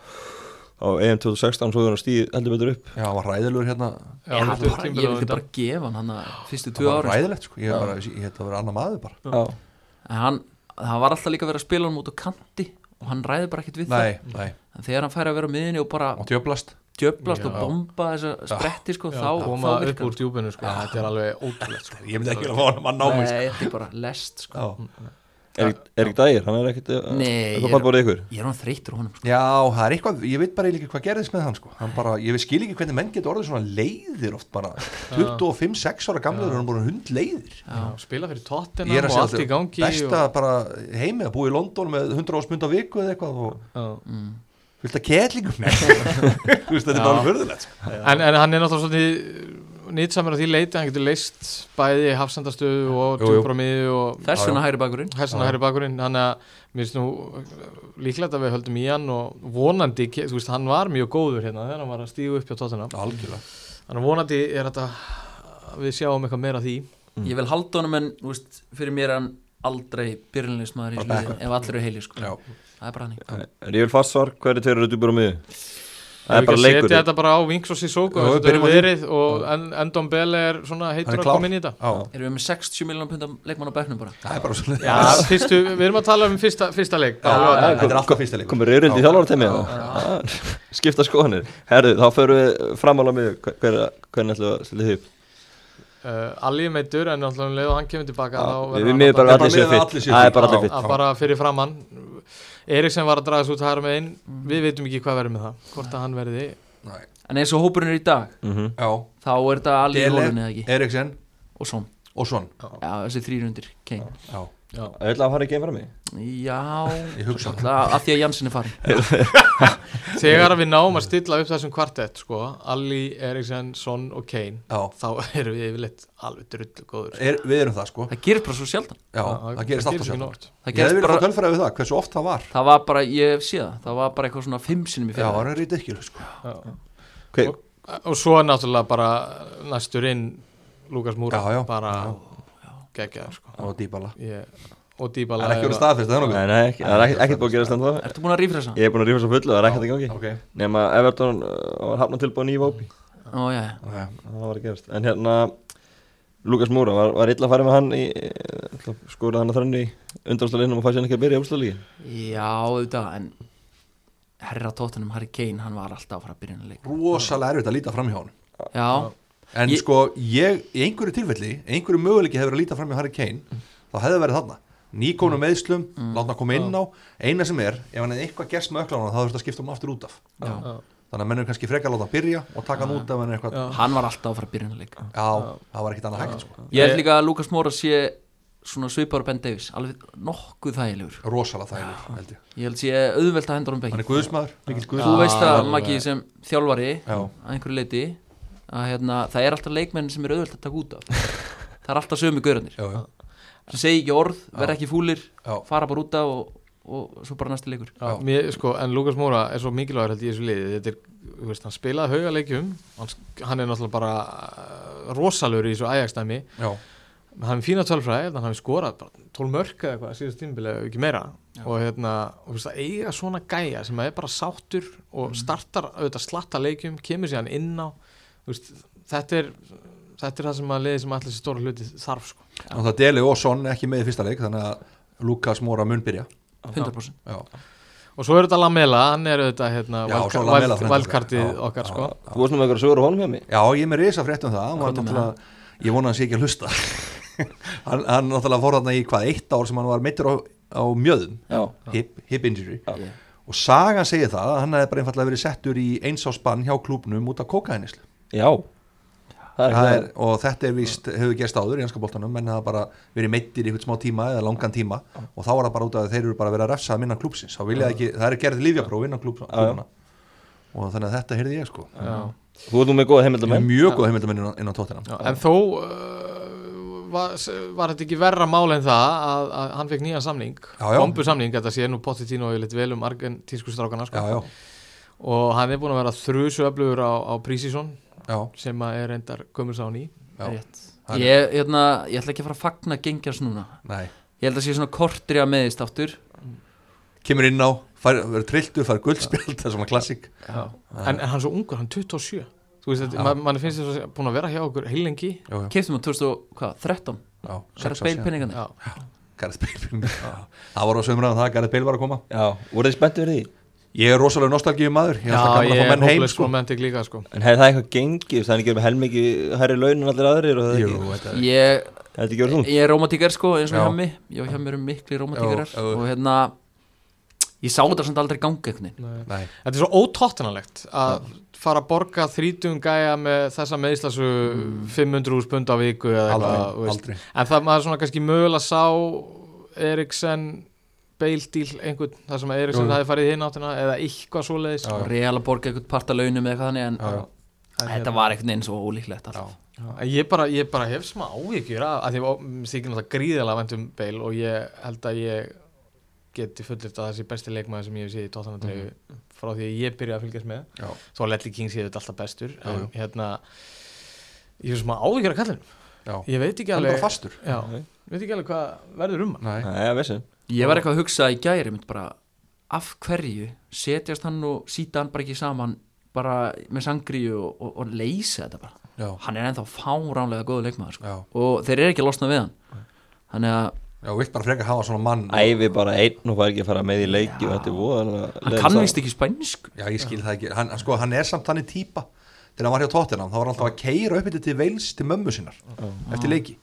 [SPEAKER 1] á EM 2016 svo þannig að stíð heldur betur upp
[SPEAKER 2] Já, hann var ræðilegur hérna
[SPEAKER 3] Já,
[SPEAKER 4] Já,
[SPEAKER 3] þetta er
[SPEAKER 4] bara,
[SPEAKER 3] tímabil á
[SPEAKER 4] ég vildi
[SPEAKER 3] undan.
[SPEAKER 4] bara gefa hann hann að fyrstu
[SPEAKER 2] Það
[SPEAKER 4] tvö
[SPEAKER 2] var
[SPEAKER 4] árin
[SPEAKER 2] ræðilegt sko, ég, er bara, ég held að vera annar maður bara
[SPEAKER 1] Já,
[SPEAKER 4] en hann, hann var alltaf líka að vera að spila hann út á kanti og hann ræði bara ekkert við
[SPEAKER 2] Nei, nei,
[SPEAKER 4] það en þegar hann fær að vera á miðinni og bara
[SPEAKER 2] mátti öflast
[SPEAKER 4] djöblast og
[SPEAKER 3] Já.
[SPEAKER 4] bomba þessa spretti sko,
[SPEAKER 3] Já,
[SPEAKER 4] þá, þá
[SPEAKER 3] koma upp
[SPEAKER 4] virkar
[SPEAKER 3] úr djúbinu sko. þetta er alveg ótrúlegt sko.
[SPEAKER 2] Ég myndi ekki að fá hann að mann á
[SPEAKER 4] hann
[SPEAKER 2] mig
[SPEAKER 4] Nei,
[SPEAKER 2] sko.
[SPEAKER 4] þetta er bara lest sko.
[SPEAKER 2] Já.
[SPEAKER 1] er ekki dægir, hann er ekkit
[SPEAKER 4] Nei, ég
[SPEAKER 1] eitthvað
[SPEAKER 4] er-
[SPEAKER 1] barbúrið ykkur
[SPEAKER 4] ég er hann þreytur á honum sko.
[SPEAKER 2] Já, það er eitthvað, ég veit bara eiginlega ekki hvað gerðist með hann sko hann bara, Ég veit skil ekki hvernig menn getur orðið svona leiðir oft bara 25-6 ára gamlega hann er búin hund leiðir
[SPEAKER 3] Já, spila fyrir Tottenham
[SPEAKER 2] Ég er að
[SPEAKER 3] og
[SPEAKER 2] segja
[SPEAKER 3] allt í gangi
[SPEAKER 2] besta bara heimi að búa í London með 100 áspund á viku eða eitthvað og
[SPEAKER 3] og, Já.
[SPEAKER 2] fylgta kettlingum Nei. Þú veist, þetta er
[SPEAKER 3] Já.
[SPEAKER 2] bara förðulegt sko.
[SPEAKER 3] en, en hann er náttúrulega svolítið nýtsamur á því leiti hann getur leist bæði hafsendastöðu og
[SPEAKER 2] Jú, jú.
[SPEAKER 3] djúbramiði og
[SPEAKER 4] þess vegna hægri bakurinn
[SPEAKER 3] hessan að hægri bakurinn þannig að mér finnst nú eh, líklegt að við höldum í hann og vonandi, ke- þú veist, hann var mjög góður hérna þegar hann var að stígu upp hjá Tottenham
[SPEAKER 2] Algjörlega
[SPEAKER 3] þannig að vonandi er þetta að við sjáum eitthvað meira af því
[SPEAKER 2] Mm.
[SPEAKER 4] ég vil halda honum en þú veist, fyrir mér er hann aldrei byrjunleismæður í
[SPEAKER 2] Bara
[SPEAKER 4] liði ef allir eru heilir sko.
[SPEAKER 2] Já.
[SPEAKER 4] það er bara hann
[SPEAKER 1] Er ég vil fast svar, hverju tveir eru djúpur á miðu? Það
[SPEAKER 3] Ef
[SPEAKER 1] er
[SPEAKER 3] við
[SPEAKER 1] bara
[SPEAKER 3] ekki
[SPEAKER 1] leikur
[SPEAKER 3] setja þetta bara á Wings og
[SPEAKER 2] Jú,
[SPEAKER 3] Sissoko eins og
[SPEAKER 2] við
[SPEAKER 3] þetta
[SPEAKER 2] byrjum á
[SPEAKER 3] hefur
[SPEAKER 2] því.
[SPEAKER 3] verið og en- Endon Bell er svona
[SPEAKER 2] Hann
[SPEAKER 3] heitur
[SPEAKER 2] er
[SPEAKER 3] að
[SPEAKER 2] klár
[SPEAKER 3] koma inn í þetta
[SPEAKER 2] Já.
[SPEAKER 4] erum við með 60 miljonar pundar leikmann á bæknum bara
[SPEAKER 2] Það er bara svona
[SPEAKER 3] Já, fyrstu, við erum að tala um fyrsta, fyrsta leik
[SPEAKER 2] Já,
[SPEAKER 3] bara á laugardaginn.
[SPEAKER 2] Þetta er alltaf fyrsta leikur
[SPEAKER 1] Komur reyrild í þjálfartemi [LAUGHS] Skipta skoðanir Herðu, þá förum við framála miðu Hvernig ætlum við að stilla því upp?
[SPEAKER 3] uh, Alli er meittur en náttúrulega um leið og hann kemur
[SPEAKER 1] Já,
[SPEAKER 3] tilbaka þá verður
[SPEAKER 1] Við
[SPEAKER 3] hann
[SPEAKER 1] miður
[SPEAKER 2] bara-
[SPEAKER 1] bara allir
[SPEAKER 2] Bara
[SPEAKER 1] séu
[SPEAKER 2] miðað að
[SPEAKER 1] fitt
[SPEAKER 2] allir séu
[SPEAKER 1] Það
[SPEAKER 2] fit.
[SPEAKER 1] er bara
[SPEAKER 2] Já.
[SPEAKER 1] allir fitt
[SPEAKER 3] að bara fyrir framann Eriksen var að draga þessu út hæra með inn við veitum ekki hvað verður með það hvort að hann verði
[SPEAKER 2] Nei.
[SPEAKER 4] en eins og hópurinn er í dag
[SPEAKER 1] Mhm.
[SPEAKER 2] Já,
[SPEAKER 4] þá er þetta allir í hólunni eða
[SPEAKER 2] Dele,
[SPEAKER 4] ekki
[SPEAKER 2] Eriksen
[SPEAKER 4] og svo,
[SPEAKER 2] og Svon
[SPEAKER 4] já, þessi þrýrundir Kane
[SPEAKER 2] Já,
[SPEAKER 1] Það ætla að fara ekki einn fram í
[SPEAKER 4] já,
[SPEAKER 2] ég hugsa
[SPEAKER 4] það að því að Jansson er farin
[SPEAKER 3] þegar að við náum að stilla upp þessum kvartett sko, Alli, Eriksen, Son og Kane
[SPEAKER 2] Já,
[SPEAKER 3] þá erum við yfirleitt alveg drullu góður
[SPEAKER 2] er, við erum það sko
[SPEAKER 4] það gerir bara svo sjaldan
[SPEAKER 2] Já, það gerist alltaf
[SPEAKER 3] ekki
[SPEAKER 2] sjálf
[SPEAKER 3] nótt.
[SPEAKER 4] það
[SPEAKER 2] Ég hefði
[SPEAKER 4] gerist
[SPEAKER 2] vilja fá
[SPEAKER 4] bara
[SPEAKER 2] tölfræði við það, hversu oft það var
[SPEAKER 4] það var bara, ég hef séð það það var bara eitthvað svona fimm sinnum í
[SPEAKER 2] Já, það
[SPEAKER 4] fyrir
[SPEAKER 2] er rítið ekki sko.
[SPEAKER 1] Hver-
[SPEAKER 3] og svo er náttúrulega bara næstur inn Lukas Múra
[SPEAKER 2] Já, já.
[SPEAKER 3] bara geggjaður sko.
[SPEAKER 2] Og dýbala
[SPEAKER 3] ég, og
[SPEAKER 2] Það
[SPEAKER 3] Dybala
[SPEAKER 2] er ekki
[SPEAKER 3] er
[SPEAKER 2] verið staðfyrst, það
[SPEAKER 1] Nei,
[SPEAKER 2] er nokkuð
[SPEAKER 1] nei, ekki- það er ekki- ekkert búið að gerast ennþá
[SPEAKER 4] ertu búin að rífra þessa?
[SPEAKER 1] Ég er búin að rífa svo fullu, það er ekkert að gangi
[SPEAKER 2] Ok,
[SPEAKER 1] Nefn að Everton uh, var hafna tilbúin í Vópi
[SPEAKER 4] Ó, já, já.
[SPEAKER 2] ok
[SPEAKER 1] Það var að gerast En hérna, Lukas Múra var, var illa að fara með hann í eh, skoraði hann að þrannu í undanstæðleginum og fæði hann ekki að byrja í úrstæðlegin
[SPEAKER 4] já, auðvitað en herra tóttunum Harry Kane hann var alltaf að fara að byrja henni leik
[SPEAKER 2] Rosalega erfitt að líta fram hjá honum
[SPEAKER 4] já,
[SPEAKER 2] En
[SPEAKER 4] Ég-
[SPEAKER 2] sko, ég, í einhverju tilfelli einhverju möguleiki hefur verið að líta fram hjá Harry
[SPEAKER 4] Mm.
[SPEAKER 2] Kane þá hefði verið þarna Nikonu meðslum, mm. láta hann koma inn á Eina sem er, ef hann hefði eitthvað gerst með öklarna þá þurfti að skipta hann aftur út af
[SPEAKER 4] já.
[SPEAKER 2] Þannig að mennum kannski frekar láta hann byrja og taka hann út af hann eitthvað Já,
[SPEAKER 4] hann var alltaf að fara að byrja henni leik
[SPEAKER 2] það var ekkit annað hægt sko.
[SPEAKER 4] ég held líka að Lukas Móra sé svona svipar Ben Davies, alveg nokkuð þægilegur
[SPEAKER 2] rosalega þægilegur, held ég
[SPEAKER 4] ég held sé auðvelt að henda honum
[SPEAKER 2] hann
[SPEAKER 4] bekk
[SPEAKER 2] er guðsmaður, mikill guðs
[SPEAKER 4] þú veist að
[SPEAKER 3] alveg.
[SPEAKER 4] Maggi sem þjálfari
[SPEAKER 2] Já.
[SPEAKER 4] að einhverju leiti að hérna, það er alltaf leikmenn sem er auðvelt að taka
[SPEAKER 2] [LAUGHS]
[SPEAKER 4] út af það er alltaf sömu gaurarnir
[SPEAKER 2] já, já,
[SPEAKER 4] sem segi ekki orð, verð ekki fúlir
[SPEAKER 2] já,
[SPEAKER 4] fara bara út af og, og svo bara næsti leikur
[SPEAKER 2] Já.
[SPEAKER 3] Mér, sko, en Lukas Móra er svo mikilvægur held ég í þessu liði þetta er, þú veist, hann spilaði hauga leikjum hann, sk- hann er náttúrulega bara uh, rosalur í þessu ægastæmi
[SPEAKER 2] já,
[SPEAKER 3] hann er fína tölfræði, hann hafi skorað bara 12 mörk eða eitthvað síðast tímabili ef ekki meira og hérna, og þú veist að eiga svona gæja sem er bara sáttur og
[SPEAKER 2] Mm.
[SPEAKER 3] startar auðvitað slatta leikjum, kemur síðan inn á þú veist, þetta er þetta er það sem að liði sem allir sér stóra hluti þarf sko.
[SPEAKER 2] náttúrulega Deli og Son ekki með í fyrsta leik, þannig að Lukas Móra mun byrja,
[SPEAKER 4] 100%
[SPEAKER 2] já,
[SPEAKER 3] og svo er þetta Lamela, hann er auðvitað hérna,
[SPEAKER 2] Já,
[SPEAKER 3] wildca-
[SPEAKER 2] svo Lamela
[SPEAKER 3] wild-
[SPEAKER 2] frændi
[SPEAKER 3] wildcardið
[SPEAKER 2] okkar. Já,
[SPEAKER 3] okkar
[SPEAKER 2] já.
[SPEAKER 3] sko.
[SPEAKER 1] Þú varst nú með eitthvað sögur á honum hjá mig
[SPEAKER 2] já, ég er með risa frétt um það, hann var
[SPEAKER 4] Komdu með
[SPEAKER 2] náttúrulega ég vona að hann sé ekki að hlusta [LAUGHS] hann, hann náttúrulega fór þarna í hvað, eitt ár sem hann var meittur á, á mjöðum
[SPEAKER 1] Já,
[SPEAKER 2] hip, hip injury
[SPEAKER 1] já,
[SPEAKER 2] og Sagan segir það að hann hefði bara einfallega verið settur í einsásbann hjá klúbnum út af kókaðinislu
[SPEAKER 1] já. Það er hérna,
[SPEAKER 2] Það
[SPEAKER 1] ekki
[SPEAKER 2] er, og þetta er víst, hefur gerst áður í ennska boltanum menn hafa bara verið meittir í einhvern smá tíma eða langan tíma og þá er það bara út af að þeir eru bara að vera að refsa að minna klúpsins þá vilja ekki, það er gerð lífjapróf innan klúb, klúbuna og þannig að þetta heyrði ég sko
[SPEAKER 3] Já.
[SPEAKER 1] það Þú ert nú með góða
[SPEAKER 2] Ég er
[SPEAKER 1] heimildamenn
[SPEAKER 2] mjög góð heimildamenn innan, innan tóttina
[SPEAKER 3] Já, en þó uh, var, var þetta ekki verra mál en það að, að hann fekk nýjan samning
[SPEAKER 2] Já, já.
[SPEAKER 3] bombu samning, þetta sé nú Pochettino og ég vel um argentísku strákana sko.
[SPEAKER 2] já, já,
[SPEAKER 3] og hann er búin að vera þrjusöflugur á, á Prísísson
[SPEAKER 2] já,
[SPEAKER 3] sem að er reyndar gömur sá hann í
[SPEAKER 2] Já.
[SPEAKER 3] Rétt.
[SPEAKER 2] Hann-
[SPEAKER 4] ég, hérna, ég ætla ekki að fara að fagna gengjars núna
[SPEAKER 2] nei
[SPEAKER 4] ég held að sé svona kortri að meðist aftur
[SPEAKER 2] kemur inn á, fær, verður trilltur, fær guldspjald það er svona klassik
[SPEAKER 3] en, en hann er svo ungur, hann er 27 Þú veist,
[SPEAKER 2] Já.
[SPEAKER 3] þetta, man, mann finnst þess að búin að vera hjá okkur heilengi
[SPEAKER 2] já, já,
[SPEAKER 4] keftum að 2013
[SPEAKER 2] já,
[SPEAKER 4] Gerrit
[SPEAKER 2] sex ár
[SPEAKER 4] Bale
[SPEAKER 2] síðan.
[SPEAKER 4] peningandi
[SPEAKER 3] já.
[SPEAKER 2] Gareth Bale það var á sömurðan það, Gareth Bale var að koma
[SPEAKER 1] Já, voruð þið spenntið fyrir því
[SPEAKER 2] ég er rosalega nostalgíu maður, ég er alltaf gaman
[SPEAKER 3] ég
[SPEAKER 2] að fá
[SPEAKER 3] er
[SPEAKER 2] menn heim
[SPEAKER 3] hóflis
[SPEAKER 2] sko.
[SPEAKER 3] romantik líka sko.
[SPEAKER 1] En hefði það eitthvað gengið, það er ekki með helmingi hærri laun en allir aðrir og það
[SPEAKER 2] Jú,
[SPEAKER 1] ekki
[SPEAKER 2] þetta er-
[SPEAKER 4] ég,
[SPEAKER 1] Þetta er ekki verið þú
[SPEAKER 4] ég er rómatíkar sko eins og
[SPEAKER 2] Já.
[SPEAKER 4] hjá mig ég og hjá mér eru mikli rómatíkarar
[SPEAKER 2] Já, já.
[SPEAKER 4] og hérna ég sá þetta samt aldrei ganga einhvern veginn
[SPEAKER 3] Nei.
[SPEAKER 2] Nei,
[SPEAKER 3] Þetta er svo ótottanalegt að fara að borga þrítum gæja með þessa meðslasu
[SPEAKER 2] Mm.
[SPEAKER 3] 500 úspund á viku eða eitthvað, þú
[SPEAKER 2] aldrei,
[SPEAKER 3] veist.
[SPEAKER 2] aldrei
[SPEAKER 3] En það maður svona kannski mögulega sá Eriksen beildíl einhvern, það sem að
[SPEAKER 2] Jú,
[SPEAKER 3] Eriksen
[SPEAKER 2] jú.
[SPEAKER 3] hafi farið í hinn áttina eða eitthvað svoleiðis.
[SPEAKER 2] Já.
[SPEAKER 4] og real að borga einhvern part af launum eða eitthvað þannig en
[SPEAKER 2] Já, já.
[SPEAKER 4] en þetta var einhvern veginn svo ólíklegt alltaf
[SPEAKER 3] En Ég bara, ég bara hef smá áhyggjur af að því að mér þykir náttúrulega gríðilega vænt um beil og ég held að ég geti fullirt að það sé besti leikmaður sem ég hef séð í tóttanandregu frá því að ég byrja að fylgjast með.
[SPEAKER 2] Mhm. Já.
[SPEAKER 3] þó að Ledley King sé þetta alltaf bestur en
[SPEAKER 2] jú.
[SPEAKER 3] hérna ég er svona ávíkjara kallinum
[SPEAKER 2] Já,
[SPEAKER 3] ég veit ekki
[SPEAKER 2] hann er
[SPEAKER 3] alveg
[SPEAKER 2] bara fastur
[SPEAKER 3] já, ég veit ekki alveg hvað verður um hann
[SPEAKER 2] Nei,
[SPEAKER 1] Nei, ég veist
[SPEAKER 4] ég var eitthvað að hugsa í gæri mynd bara af hverju setjast hann og síta hann bara ekki saman bara með sangriðu og, og, og leysa þetta bara
[SPEAKER 2] já,
[SPEAKER 4] hann er ennþá fáránlega góðu leikmaður sko.
[SPEAKER 2] já,
[SPEAKER 4] og þeir eru ekki að losna við hann þannig að
[SPEAKER 2] já, vilt bara frekar hafa svona mann
[SPEAKER 1] Æfi bara einn og fær ekki að fara með í leiki og þetta er voðalega
[SPEAKER 4] hann kann vist ekki spænsku
[SPEAKER 2] Já, ég skil það ekki, hann, sko, hann er samt þannig típa Þegar hann var hjá tóttinam, þá var hann alltaf að keira upp til veils til mömmu sinnar Eftir leiki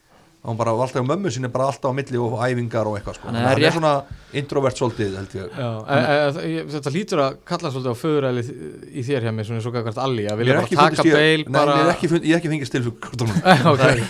[SPEAKER 2] Og hann bara var alltaf á mömmu sinni, bara alltaf á milli og æfingar og eitthvað sko.
[SPEAKER 4] Hann
[SPEAKER 2] Hann er,
[SPEAKER 4] er
[SPEAKER 2] hann
[SPEAKER 4] rétt-
[SPEAKER 2] er svona introvert svolítið, held ég
[SPEAKER 3] Já, e, e, e, ég- þetta lítur að kalla svolítið á föðuræli í þér hjá mér svona eins og gækvart alli að
[SPEAKER 2] Ég
[SPEAKER 3] vilja
[SPEAKER 2] er
[SPEAKER 3] bara
[SPEAKER 2] ekki
[SPEAKER 3] taka
[SPEAKER 2] fundist ég,
[SPEAKER 3] beil
[SPEAKER 2] nei,
[SPEAKER 3] bara
[SPEAKER 2] ég er ekki, fund, ég er ekki fengist til kvörtunum
[SPEAKER 3] okay.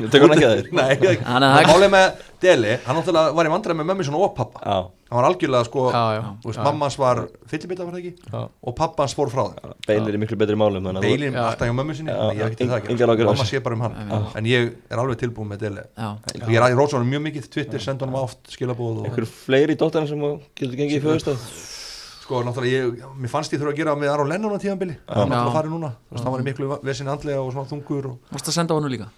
[SPEAKER 1] Þú tekur hann ekki að þér
[SPEAKER 2] [LAUGHS] Nei, ég-
[SPEAKER 4] Hann er-
[SPEAKER 2] málið með Deli, hann náttúrulega var í vandræð með mömmu sinna og pappa
[SPEAKER 1] Já,
[SPEAKER 2] Hann var algjörlega sko,
[SPEAKER 3] já, já,
[SPEAKER 2] þú veist,
[SPEAKER 3] já,
[SPEAKER 2] mamma hans var fyllibita var það ekki
[SPEAKER 3] já.
[SPEAKER 2] og pappa hans fór frá þeim
[SPEAKER 1] Beilir er í miklu betri málum þannig að þú-
[SPEAKER 2] Beilin
[SPEAKER 3] Já.
[SPEAKER 2] alltaf hjá mömmu sinni
[SPEAKER 1] Já,
[SPEAKER 2] þannig að ég hef ekki til það
[SPEAKER 1] engar áhyggjur
[SPEAKER 2] að gera
[SPEAKER 1] af
[SPEAKER 2] mamma
[SPEAKER 1] þessu.
[SPEAKER 2] sé bara um hann en ég er alveg tilbúin með Dele
[SPEAKER 4] já,
[SPEAKER 2] ég er aðeins rósa honum mjög mikið Twitter senda honum oft skilabóð og
[SPEAKER 1] Einhver fleiri í dóttarinn sem þú getur gengið í föðustöð
[SPEAKER 2] sko náttúrulega ég, mér fannst ég þurfa að gera með Aron Lennon á tíðanbili hann er náttúrulega
[SPEAKER 4] Já.
[SPEAKER 2] farið núna þú veist hann var í miklu vesin andlega og svona þungur og
[SPEAKER 4] mást að senda á hann líka